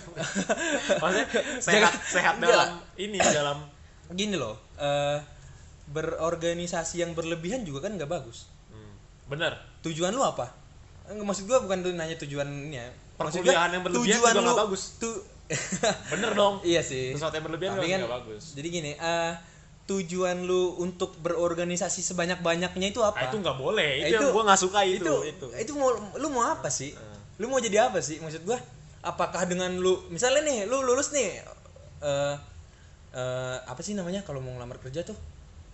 [SPEAKER 2] maksudnya sehat
[SPEAKER 1] Jangan-
[SPEAKER 2] sehat
[SPEAKER 1] enggak
[SPEAKER 2] dalam ini dalam
[SPEAKER 1] gini loh eh, berorganisasi yang berlebihan juga kan nggak bagus
[SPEAKER 2] hmm, bener.
[SPEAKER 1] tujuan lu apa Enggak, maksud gua bukan lu nanya tujuannya Maksud gua,
[SPEAKER 2] Perkuliahan yang berlebihan
[SPEAKER 1] tujuan
[SPEAKER 2] juga nggak
[SPEAKER 1] lu-
[SPEAKER 2] bagus.
[SPEAKER 1] tu-
[SPEAKER 2] Bener dong.
[SPEAKER 1] iya sih
[SPEAKER 2] Sesuatu yang berlebihan
[SPEAKER 1] Tapi
[SPEAKER 2] kan
[SPEAKER 1] kan-
[SPEAKER 2] nggak bagus.
[SPEAKER 1] jadi gini eh, tujuan lu untuk berorganisasi sebanyak banyaknya itu apa
[SPEAKER 2] Nah, itu nggak boleh.
[SPEAKER 1] Nah,
[SPEAKER 2] Itu, yang gue nggak suka itu. Ah.
[SPEAKER 1] itu itu, mau lu mau apa sih lu mau jadi apa sih maksud gua apakah dengan lu misalnya nih lu lulus nih eh eh, apa sih namanya kalau mau ngelamar kerja tuh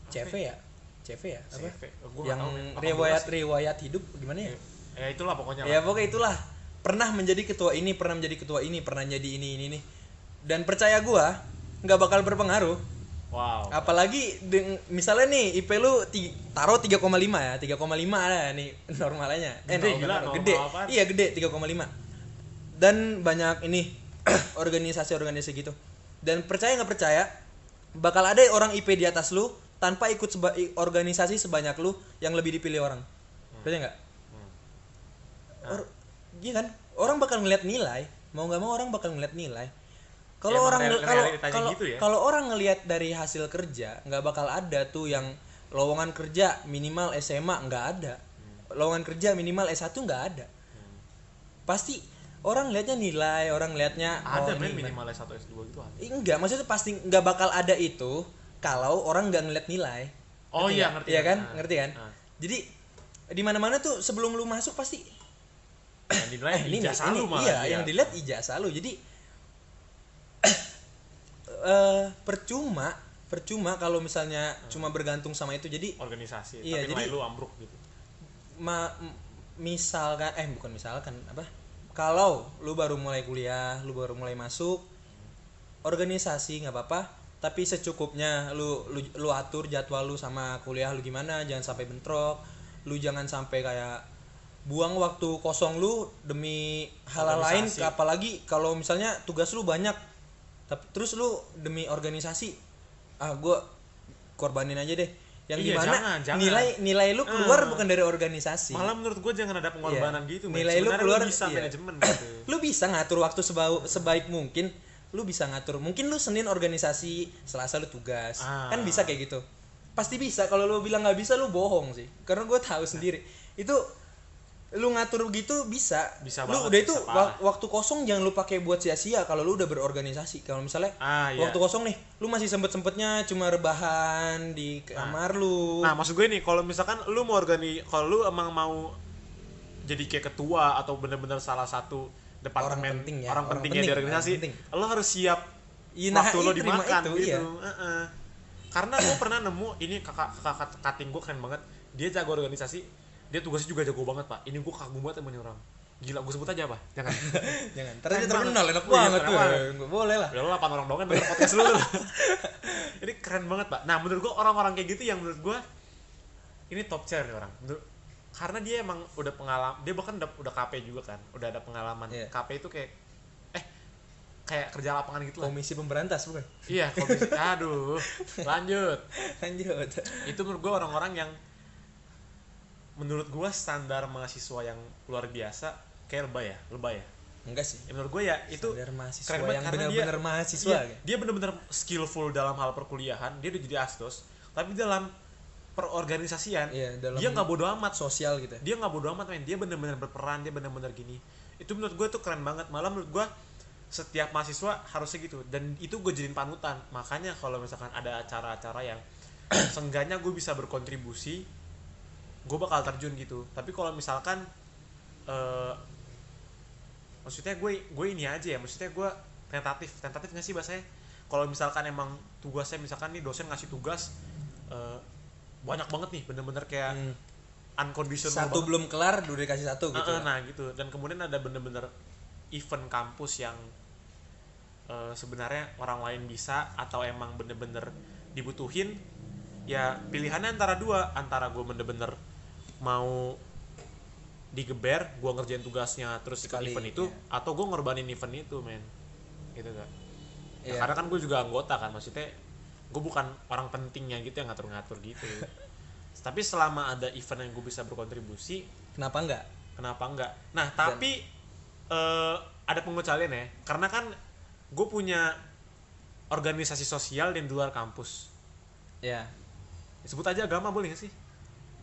[SPEAKER 1] CV ya CV ya apa
[SPEAKER 2] CV. Oh, gua nggak
[SPEAKER 1] yang
[SPEAKER 2] tahu, men. Apa
[SPEAKER 1] riwayat riwayat hidup gimana ya
[SPEAKER 2] Ya itulah pokoknya.
[SPEAKER 1] ya pokoknya itulah pernah menjadi ketua ini pernah menjadi ketua ini pernah jadi ini ini nih dan percaya gua nggak bakal berpengaruh
[SPEAKER 2] Wow.
[SPEAKER 1] apalagi deng- misalnya nih IP lu ti- taruh 3,5 ya 3,5 ada nih normalnya eh, normal-
[SPEAKER 2] Gede, gila, normal
[SPEAKER 1] gede
[SPEAKER 2] apaan?
[SPEAKER 1] iya gede 3,5 dan banyak ini organisasi-organisasi gitu dan percaya nggak percaya bakal ada orang IP di atas lu tanpa ikut seba- i- organisasi sebanyak lu yang lebih dipilih orang
[SPEAKER 2] Hmm.
[SPEAKER 1] percaya nggak Or- iya kan orang bakal ngeliat nilai mau nggak mau orang bakal ngeliat nilai kalau
[SPEAKER 2] emang
[SPEAKER 1] orang
[SPEAKER 2] real-
[SPEAKER 1] ngel- kalau
[SPEAKER 2] realitanya
[SPEAKER 1] kalau
[SPEAKER 2] gitu ya.
[SPEAKER 1] kalau orang ngelihat dari hasil kerja nggak bakal ada tuh yang lowongan kerja minimal SMA nggak ada
[SPEAKER 2] Hmm.
[SPEAKER 1] lowongan kerja minimal S1 nggak ada pasti orang lihatnya nilai orang lihatnya
[SPEAKER 2] Ada
[SPEAKER 1] oh,
[SPEAKER 2] men
[SPEAKER 1] ini-
[SPEAKER 2] minimalnya satu S2 gitu ada.
[SPEAKER 1] Ih, enggak maksudnya pasti nggak bakal ada itu kalau orang nggak ngeliat nilai
[SPEAKER 2] Oh iya,
[SPEAKER 1] nggak?
[SPEAKER 2] ngerti,
[SPEAKER 1] iya kan
[SPEAKER 2] ngerti.
[SPEAKER 1] ngerti
[SPEAKER 2] Ah.
[SPEAKER 1] kan
[SPEAKER 2] Ah.
[SPEAKER 1] jadi di mana mana tuh sebelum lu masuk pasti
[SPEAKER 2] Yang dinilai
[SPEAKER 1] eh, ini
[SPEAKER 2] ijazah
[SPEAKER 1] ini-
[SPEAKER 2] lu malah.
[SPEAKER 1] iya
[SPEAKER 2] dia.
[SPEAKER 1] yang dilihat ijazah lu jadi eh percuma percuma kalau misalnya cuma bergantung sama itu jadi
[SPEAKER 2] organisasi.
[SPEAKER 1] Iya,
[SPEAKER 2] Tapi nilai
[SPEAKER 1] jadi-
[SPEAKER 2] lu ambruk gitu.
[SPEAKER 1] ma m- misalkan eh bukan misalkan apa kalau lu baru mulai kuliah lu baru mulai masuk organisasi nggak apa-apa tapi secukupnya lu, lu lu atur jadwal lu sama kuliah lu gimana jangan sampai bentrok lu jangan sampai kayak buang waktu kosong lu demi hal lain
[SPEAKER 2] Organisasi.
[SPEAKER 1] apalagi kalau misalnya tugas lu banyak tapi terus lu demi organisasi ah gue korbanin aja deh yang
[SPEAKER 2] Iya,
[SPEAKER 1] dimana
[SPEAKER 2] jangan, jangan.
[SPEAKER 1] nilai nilai lu keluar
[SPEAKER 2] Ah.
[SPEAKER 1] bukan dari organisasi
[SPEAKER 2] Malah menurut gue jangan ada pengorbanan
[SPEAKER 1] Iya.
[SPEAKER 2] gitu. men.
[SPEAKER 1] Nilai lu
[SPEAKER 2] Sebenarnya
[SPEAKER 1] keluar,
[SPEAKER 2] bisa
[SPEAKER 1] iya.
[SPEAKER 2] manajemen gitu.
[SPEAKER 1] lu bisa ngatur waktu sebau- sebaik mungkin lu bisa ngatur mungkin lu senin organisasi selasa lu tugas
[SPEAKER 2] Ah.
[SPEAKER 1] kan bisa kayak gitu pasti bisa kalau lu bilang nggak bisa lu bohong sih karena gue tahu sendiri itu lu ngatur gitu bisa
[SPEAKER 2] Bisa
[SPEAKER 1] lu
[SPEAKER 2] banget,
[SPEAKER 1] udah itu
[SPEAKER 2] bisa
[SPEAKER 1] wa-
[SPEAKER 2] parah.
[SPEAKER 1] waktu kosong jangan lu pakai buat sia-sia kalau lu udah berorganisasi kalau misalnya
[SPEAKER 2] Ah, iya.
[SPEAKER 1] waktu kosong nih lu masih sempet sempetnya cuma rebahan di kamar lu
[SPEAKER 2] Nah, maksud gue nih, kalau misalkan lu mau organi, kalau lu emang mau jadi kayak ketua atau bener-bener salah satu departemen
[SPEAKER 1] Orang penting ya, orang
[SPEAKER 2] pentingnya
[SPEAKER 1] penting,
[SPEAKER 2] di organisasi,
[SPEAKER 1] orang penting.
[SPEAKER 2] lu harus siap
[SPEAKER 1] Iya, nah,
[SPEAKER 2] waktu
[SPEAKER 1] iya,
[SPEAKER 2] lu
[SPEAKER 1] terima
[SPEAKER 2] dimakan
[SPEAKER 1] itu,
[SPEAKER 2] gitu.
[SPEAKER 1] iya.
[SPEAKER 2] Heeh. Karena gue pernah nemu ini kakak kakak kating gue keren banget. Dia jago organisasi, dia tugasnya juga jago banget pak. Ini gue kagum banget sama ini orang. Gila, gue sebut aja apa? Jangan.
[SPEAKER 1] jangan ntar
[SPEAKER 2] Keren
[SPEAKER 1] dia terkenal
[SPEAKER 2] banget.
[SPEAKER 1] enak
[SPEAKER 2] Iya,
[SPEAKER 1] banget
[SPEAKER 2] keren
[SPEAKER 1] tuh
[SPEAKER 2] banget.
[SPEAKER 1] Nggak boleh lah
[SPEAKER 2] Udah lu 8 orang doang kan denger podcast lu. ini keren banget, Pak. Nah, menurut gua orang-orang kayak gitu yang menurut gua ini top tier nih orang. Menurut- karena dia emang udah pengalaman, dia bahkan udah, udah KP juga kan. Udah ada pengalaman.
[SPEAKER 1] Iya.
[SPEAKER 2] KP itu kayak eh kayak kerja lapangan gitu lah.
[SPEAKER 1] komisi pemberantas bukan
[SPEAKER 2] Iya, komisi. Aduh. Lanjut.
[SPEAKER 1] lanjut
[SPEAKER 2] Itu menurut gue orang-orang yang menurut gue standar mahasiswa yang luar biasa kayak lebay ya, lebay ya.
[SPEAKER 1] enggak sih
[SPEAKER 2] Ya, menurut gue ya itu
[SPEAKER 1] Sadar mahasiswa
[SPEAKER 2] keren banget
[SPEAKER 1] yang
[SPEAKER 2] karena dia-
[SPEAKER 1] benar-benar mahasiswa gitu.
[SPEAKER 2] Iya,
[SPEAKER 1] kayak.
[SPEAKER 2] dia bener-bener skillful dalam hal perkuliahan, dia udah jadi asdos, tapi dalam perorganisasian
[SPEAKER 1] Iya, dalam
[SPEAKER 2] dia nggak Iya. bodo amat
[SPEAKER 1] sosial gitu
[SPEAKER 2] dia nggak bodo amat men dia bener-bener berperan dia bener-bener gini itu menurut gue tuh keren banget malah menurut gue setiap mahasiswa harusnya gitu dan itu gue jadiin panutan makanya kalau misalkan ada acara-acara yang seenggaknya gue bisa berkontribusi gue bakal terjun gitu tapi kalau misalkan eh maksudnya gue gue ini aja ya maksudnya gue tentatif tentatif nggak sih bahasanya kalau misalkan emang tugasnya misalkan nih dosen ngasih tugas eh, banyak banget nih bener-bener kayak
[SPEAKER 1] Hmm.
[SPEAKER 2] unconditional
[SPEAKER 1] satu
[SPEAKER 2] banget.
[SPEAKER 1] belum kelar udah dikasih satu gitu
[SPEAKER 2] Heeh, nah gitu dan kemudian ada bener-bener event kampus yang eh, sebenarnya orang lain bisa atau emang bener-bener dibutuhin ya pilihannya antara dua antara gue bener-bener mau digeber gue ngerjain tugasnya terus ikut
[SPEAKER 1] Sekali, iya.
[SPEAKER 2] event itu atau gue ngorbanin event itu men gitu kan
[SPEAKER 1] Iya.
[SPEAKER 2] Ya, karena kan gue juga anggota kan maksudnya gue bukan orang pentingnya gitu yang ngatur-ngatur gitu tapi selama ada event yang gue bisa berkontribusi
[SPEAKER 1] kenapa enggak
[SPEAKER 2] kenapa enggak nah tapi eh, ada pengecualian ya karena kan gue punya organisasi sosial di luar kampus
[SPEAKER 1] ya
[SPEAKER 2] sebut aja agama boleh gak sih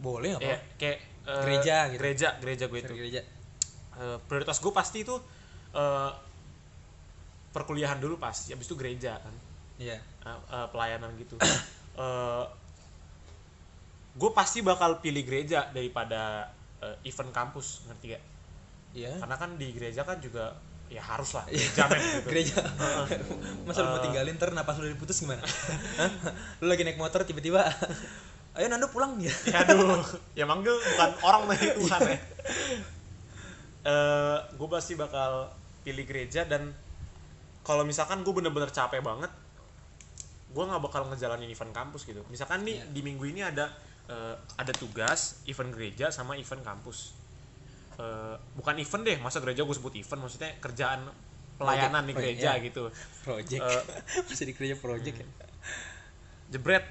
[SPEAKER 1] boleh apa
[SPEAKER 2] Ya, kayak eh,
[SPEAKER 1] Gereja gitu.
[SPEAKER 2] gereja gereja gue
[SPEAKER 1] Share
[SPEAKER 2] itu
[SPEAKER 1] gereja
[SPEAKER 2] Eh, prioritas gue pasti itu eh, perkuliahan dulu pasti habis itu gereja kan
[SPEAKER 1] iya
[SPEAKER 2] uh, uh, pelayanan gitu. gue pasti bakal pilih gereja daripada uh, event kampus, ngerti gak?
[SPEAKER 1] iya
[SPEAKER 2] Karena kan di gereja kan juga ya harus lah gereja men, gitu.
[SPEAKER 1] gereja masa lu mau tinggalin ntar napas lu diputus gimana Hah? lu lagi naik motor tiba-tiba ayo Nando pulang ya
[SPEAKER 2] ya aduh, ya manggil bukan orang tapi Tuhan ya. gue pasti bakal pilih gereja dan kalau misalkan gue bener-bener capek banget, gue nggak bakal ngejalanin event kampus gitu. Misalkan nih di minggu ini ada eh, ada tugas event gereja sama event kampus. Eh, bukan event deh, masa gereja gue sebut event, maksudnya kerjaan pelayanan
[SPEAKER 1] Proyek,
[SPEAKER 2] di
[SPEAKER 1] proyek,
[SPEAKER 2] gereja
[SPEAKER 1] ya.
[SPEAKER 2] gitu.
[SPEAKER 1] project masih di gereja project
[SPEAKER 2] Iya.
[SPEAKER 1] ya
[SPEAKER 2] jebret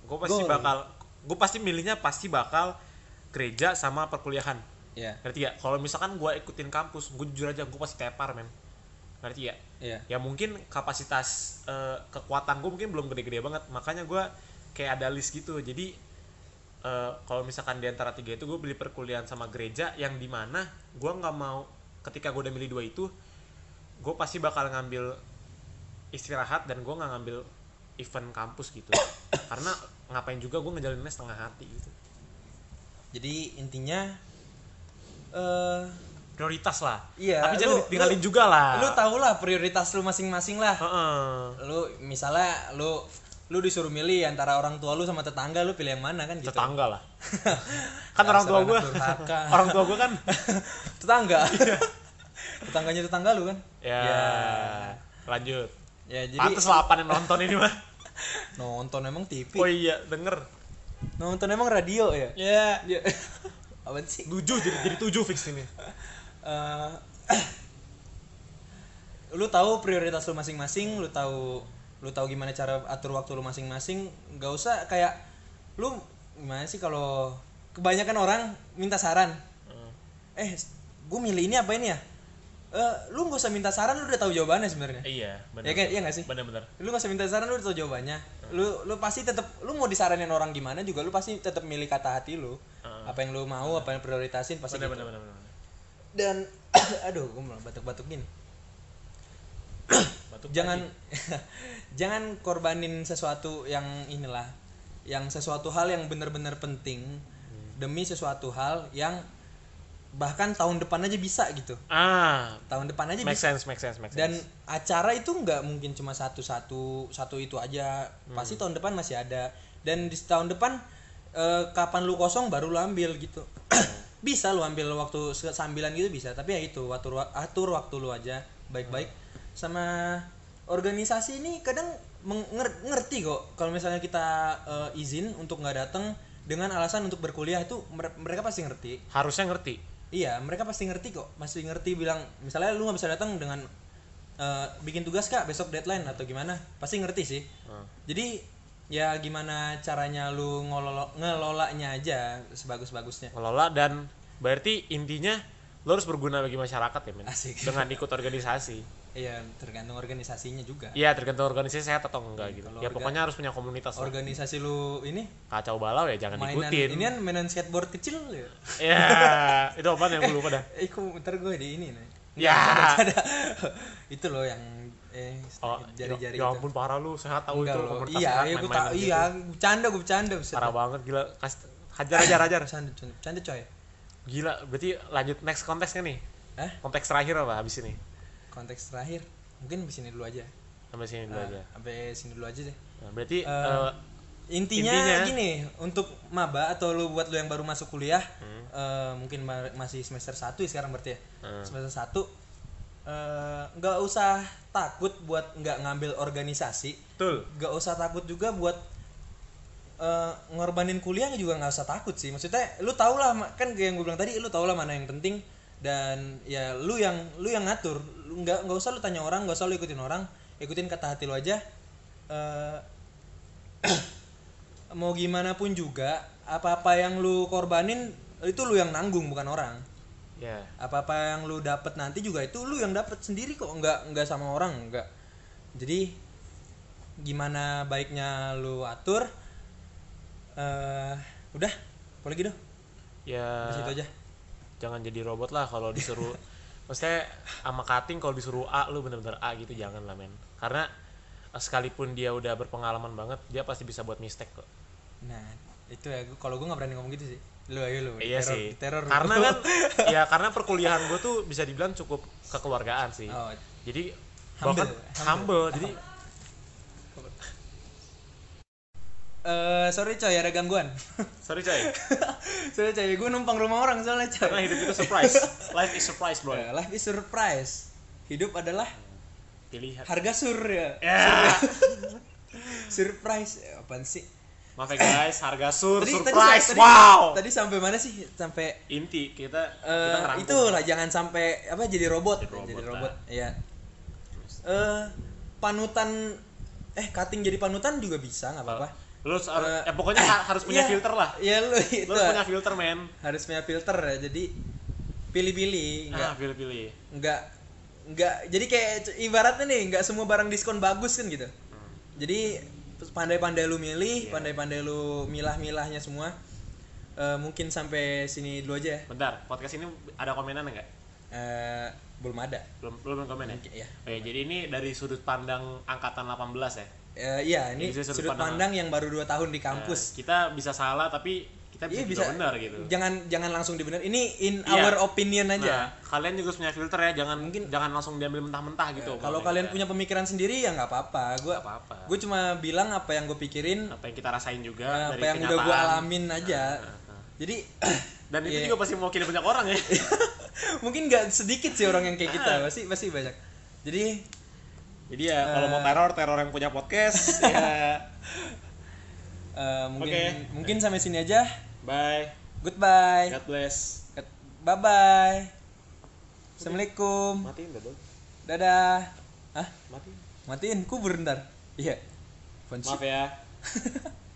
[SPEAKER 2] gue pasti
[SPEAKER 1] Gol.
[SPEAKER 2] bakal gue pasti milihnya pasti bakal gereja sama perkuliahan
[SPEAKER 1] iya
[SPEAKER 2] ngerti gak kalau misalkan gue ikutin kampus gue jujur aja gue pasti tepar men ngerti gak
[SPEAKER 1] iya
[SPEAKER 2] ya mungkin kapasitas eh, kekuatan gue mungkin belum gede-gede banget makanya gue kayak ada list gitu jadi eh, kalau misalkan di antara tiga itu gue beli perkuliahan sama gereja yang dimana gue nggak mau ketika gue udah milih dua itu gue pasti bakal ngambil istirahat dan gue nggak ngambil event kampus gitu karena ngapain juga gue ngejalaninnya setengah hati gitu
[SPEAKER 1] jadi intinya eh
[SPEAKER 2] prioritas lah
[SPEAKER 1] Iya,
[SPEAKER 2] tapi jangan
[SPEAKER 1] lu-
[SPEAKER 2] ditinggalin
[SPEAKER 1] lu-
[SPEAKER 2] juga lah
[SPEAKER 1] lu tau lah prioritas lu masing-masing lah
[SPEAKER 2] Heeh.
[SPEAKER 1] lu misalnya lu lu disuruh milih antara orang tua lu sama tetangga lu pilih yang mana kan gitu
[SPEAKER 2] tetangga lah kan orang tua
[SPEAKER 1] Dasar anak
[SPEAKER 2] gue
[SPEAKER 1] durhaka.
[SPEAKER 2] orang tua gue kan
[SPEAKER 1] tetangga tetangganya tetangga lu kan
[SPEAKER 2] ya lanjut
[SPEAKER 1] ya jadi
[SPEAKER 2] pantes lah apa yang nonton ini mah
[SPEAKER 1] nonton emang TV
[SPEAKER 2] oh iya denger
[SPEAKER 1] nonton emang radio ya
[SPEAKER 2] ya
[SPEAKER 1] ya apa sih
[SPEAKER 2] tujuh jadi jadi tujuh fix ini
[SPEAKER 1] Eh, lu tahu prioritas lu masing-masing lu tahu lu tahu gimana cara atur waktu lu masing-masing gak usah kayak lu gimana sih kalau kebanyakan orang minta saran eh gue milih ini apa ini ya Eh, lu gak usah minta saran lu udah tahu jawabannya sebenarnya
[SPEAKER 2] iya
[SPEAKER 1] ya
[SPEAKER 2] bener
[SPEAKER 1] kan iya gak sih
[SPEAKER 2] bener bener
[SPEAKER 1] lu gak usah minta saran lu udah tau jawabannya lu lu pasti tetap lu mau disaranin orang gimana juga lu pasti tetap milih kata hati lu apa yang lu mau apa yang prioritasin pasti
[SPEAKER 2] bener
[SPEAKER 1] gitu.
[SPEAKER 2] bener bener bener.
[SPEAKER 1] dan aduh gue malah batuk-batuk gini
[SPEAKER 2] batuk
[SPEAKER 1] jangan jangan korbanin sesuatu yang inilah yang sesuatu hal yang benar-benar penting demi sesuatu hal yang bahkan tahun depan aja bisa gitu
[SPEAKER 2] ah
[SPEAKER 1] tahun depan aja
[SPEAKER 2] make
[SPEAKER 1] bisa
[SPEAKER 2] sense make sense make sense
[SPEAKER 1] dan acara itu nggak mungkin cuma satu satu satu itu aja pasti tahun depan masih ada dan di tahun depan eh, kapan lu kosong baru lu ambil gitu bisa lu ambil waktu se- sambilan gitu bisa tapi ya itu atur wa- atur waktu lu aja baik-baik sama organisasi ini kadang meng- nger- ngerti kok kalau misalnya kita eh, izin untuk nggak datang dengan alasan untuk berkuliah itu mer- mereka pasti ngerti
[SPEAKER 2] harusnya ngerti
[SPEAKER 1] Iya, mereka pasti ngerti kok. Masih ngerti bilang misalnya lu nggak bisa datang dengan eh, bikin tugas kak besok deadline atau gimana pasti ngerti sih
[SPEAKER 2] Hmm.
[SPEAKER 1] jadi ya gimana caranya lu ngelolo- ngelolanya aja sebagus-bagusnya
[SPEAKER 2] ngelola dan berarti intinya lo harus berguna bagi masyarakat ya men
[SPEAKER 1] Asik.
[SPEAKER 2] dengan ikut organisasi
[SPEAKER 1] ya tergantung organisasinya juga
[SPEAKER 2] iya tergantung organisasi sehat atau enggak gitu
[SPEAKER 1] kalau
[SPEAKER 2] ya
[SPEAKER 1] orga-
[SPEAKER 2] pokoknya harus punya komunitas lah.
[SPEAKER 1] organisasi lu ini
[SPEAKER 2] kacau balau ya jangan
[SPEAKER 1] mainan
[SPEAKER 2] ikutin
[SPEAKER 1] ini kan mainan skateboard kecil ya
[SPEAKER 2] ya itu apa yang gue lupa dah
[SPEAKER 1] eh ku- ntar gue di ini nih
[SPEAKER 2] ya
[SPEAKER 1] itu loh yang eh
[SPEAKER 2] Oh,
[SPEAKER 1] jari-jari
[SPEAKER 2] ya, ya
[SPEAKER 1] itu
[SPEAKER 2] ampun parah lu sehat tahu
[SPEAKER 1] Enggak
[SPEAKER 2] itu
[SPEAKER 1] loh.
[SPEAKER 2] komunitas
[SPEAKER 1] iya
[SPEAKER 2] sehat
[SPEAKER 1] iya gue
[SPEAKER 2] main-main
[SPEAKER 1] tahu
[SPEAKER 2] gitu.
[SPEAKER 1] iya gua bercanda gue bercanda buset.
[SPEAKER 2] parah banget gila Kas- hajar hajar hajar
[SPEAKER 1] bercanda coy. bercanda coy
[SPEAKER 2] gila berarti lanjut next konteks kan nih
[SPEAKER 1] Hah?
[SPEAKER 2] konteks terakhir apa habis ini
[SPEAKER 1] Eh, konteks terakhir mungkin di sini dulu aja
[SPEAKER 2] sampai sini dulu
[SPEAKER 1] Ah,
[SPEAKER 2] aja
[SPEAKER 1] sampai sini dulu aja deh
[SPEAKER 2] Nah, berarti
[SPEAKER 1] Eh,
[SPEAKER 2] eh,
[SPEAKER 1] intinya,
[SPEAKER 2] Intinya-
[SPEAKER 1] gini untuk maba atau lu buat lu yang baru masuk kuliah eh, mungkin ma- masih semester 1 ya sekarang berarti ya
[SPEAKER 2] Hmm.
[SPEAKER 1] semester 1 eh, nggak usah takut buat nggak ngambil organisasi
[SPEAKER 2] betul
[SPEAKER 1] nggak usah takut juga buat eh, ngorbanin kuliah juga nggak usah takut sih maksudnya lu tau lah ma- kan kayak yang gue bilang tadi lu tau lah mana yang penting dan ya lu yang lu yang ngatur Lu nggak nggak usah lu tanya orang nggak usah lu ikutin orang ikutin kata hati lu aja Eh, mau gimana pun juga apa apa yang lu korbanin itu lu yang nanggung bukan orang
[SPEAKER 2] ya
[SPEAKER 1] apa apa yang lu dapet nanti juga itu lu yang dapet sendiri kok nggak nggak sama orang nggak jadi gimana baiknya lu atur eh udah apa lagi dong
[SPEAKER 2] ya
[SPEAKER 1] Di situ aja
[SPEAKER 2] jangan jadi robot lah kalau disuruh maksudnya sama cutting kalau disuruh A lu bener-bener A gitu jangan lah men karena eh, sekalipun dia udah berpengalaman banget dia pasti bisa buat mistake kok
[SPEAKER 1] nah itu ya gua- kalau gue nggak berani ngomong gitu sih lu ayo lu
[SPEAKER 2] iya
[SPEAKER 1] diteror-
[SPEAKER 2] sih
[SPEAKER 1] diteror lu.
[SPEAKER 2] karena kan ya karena perkuliahan gue tuh bisa dibilang cukup kekeluargaan sih
[SPEAKER 1] oh,
[SPEAKER 2] jadi
[SPEAKER 1] Humble,
[SPEAKER 2] bahkan humble, jadi
[SPEAKER 1] eh, sorry coy ada gangguan
[SPEAKER 2] sorry coy
[SPEAKER 1] sorry coy gue numpang rumah orang soalnya coy
[SPEAKER 2] karena hidup itu surprise life is surprise bro
[SPEAKER 1] Eh, life is surprise hidup adalah
[SPEAKER 2] pilihan
[SPEAKER 1] harga sur ya
[SPEAKER 2] Ya.
[SPEAKER 1] surprise Eh, apaan sih
[SPEAKER 2] maaf ya guys harga sur
[SPEAKER 1] Tadi- tadi-
[SPEAKER 2] surprise
[SPEAKER 1] tadi-
[SPEAKER 2] wow
[SPEAKER 1] Tadi sampai mana sih? Sampai
[SPEAKER 2] inti kita kita
[SPEAKER 1] eh
[SPEAKER 2] ngerangkum.
[SPEAKER 1] itulah jangan sampai apa jadi robot,
[SPEAKER 2] Jadi robot
[SPEAKER 1] jadi
[SPEAKER 2] lah.
[SPEAKER 1] robot. Iya. Eh panutan eh cutting jadi panutan juga bisa nggak apa-apa.
[SPEAKER 2] lu harus- ya pokoknya ha- harus punya
[SPEAKER 1] Iya.
[SPEAKER 2] filter lah
[SPEAKER 1] Iya lu itu.
[SPEAKER 2] lu harus punya filter men
[SPEAKER 1] Harus punya filter ya. Jadi pilih-pilih nggak
[SPEAKER 2] ah pilih-pilih
[SPEAKER 1] nggak nggak jadi kayak c- ibaratnya nih nggak semua barang diskon bagus kan gitu jadi pandai-pandai lu milih
[SPEAKER 2] Hmm. Iya.
[SPEAKER 1] pandai-pandai lu milah-milahnya semua Eh, mungkin sampai sini dulu aja ya
[SPEAKER 2] bentar podcast ini ada komenan enggak
[SPEAKER 1] Eh, belum ada
[SPEAKER 2] belum belum komen ya
[SPEAKER 1] Mungkin- ya
[SPEAKER 2] Oke, jadi ini dari sudut pandang angkatan 18 ya
[SPEAKER 1] Eh, iya ini
[SPEAKER 2] Jadi
[SPEAKER 1] sudut pandang yang baru 2 tahun di kampus
[SPEAKER 2] Nah, kita bisa salah tapi kita
[SPEAKER 1] Iya,
[SPEAKER 2] bisa, juga benar gitu
[SPEAKER 1] jangan jangan langsung dibener ini in
[SPEAKER 2] Iya.
[SPEAKER 1] our opinion
[SPEAKER 2] nah,
[SPEAKER 1] aja
[SPEAKER 2] kalian juga harus punya filter ya jangan mungkin jangan langsung diambil mentah-mentah gitu
[SPEAKER 1] kalau
[SPEAKER 2] omongannya.
[SPEAKER 1] kalian punya pemikiran sendiri ya nggak apa-apa gue
[SPEAKER 2] Nggak apa-apa
[SPEAKER 1] gue cuma bilang apa yang gue pikirin eh,
[SPEAKER 2] apa yang kita rasain juga dari
[SPEAKER 1] Nah, apa yang udah gue
[SPEAKER 2] kenyataan. Nah,
[SPEAKER 1] alamin aja jadi
[SPEAKER 2] dan
[SPEAKER 1] Iya.
[SPEAKER 2] itu juga pasti mewakili banyak orang ya
[SPEAKER 1] mungkin nggak sedikit sih orang yang kayak kita
[SPEAKER 2] Nah.
[SPEAKER 1] pasti pasti banyak jadi
[SPEAKER 2] jadi ya kalau
[SPEAKER 1] Nah.
[SPEAKER 2] mau teror teror yang punya podcast ya
[SPEAKER 1] eh, mungkin
[SPEAKER 2] Oke.
[SPEAKER 1] mungkin sampai sini aja
[SPEAKER 2] bye
[SPEAKER 1] goodbye
[SPEAKER 2] God bless
[SPEAKER 1] bye bye assalamualaikum
[SPEAKER 2] matiin dong
[SPEAKER 1] dadah ah
[SPEAKER 2] matiin
[SPEAKER 1] matiin kubur ntar iya Apaan sih?
[SPEAKER 2] maaf ya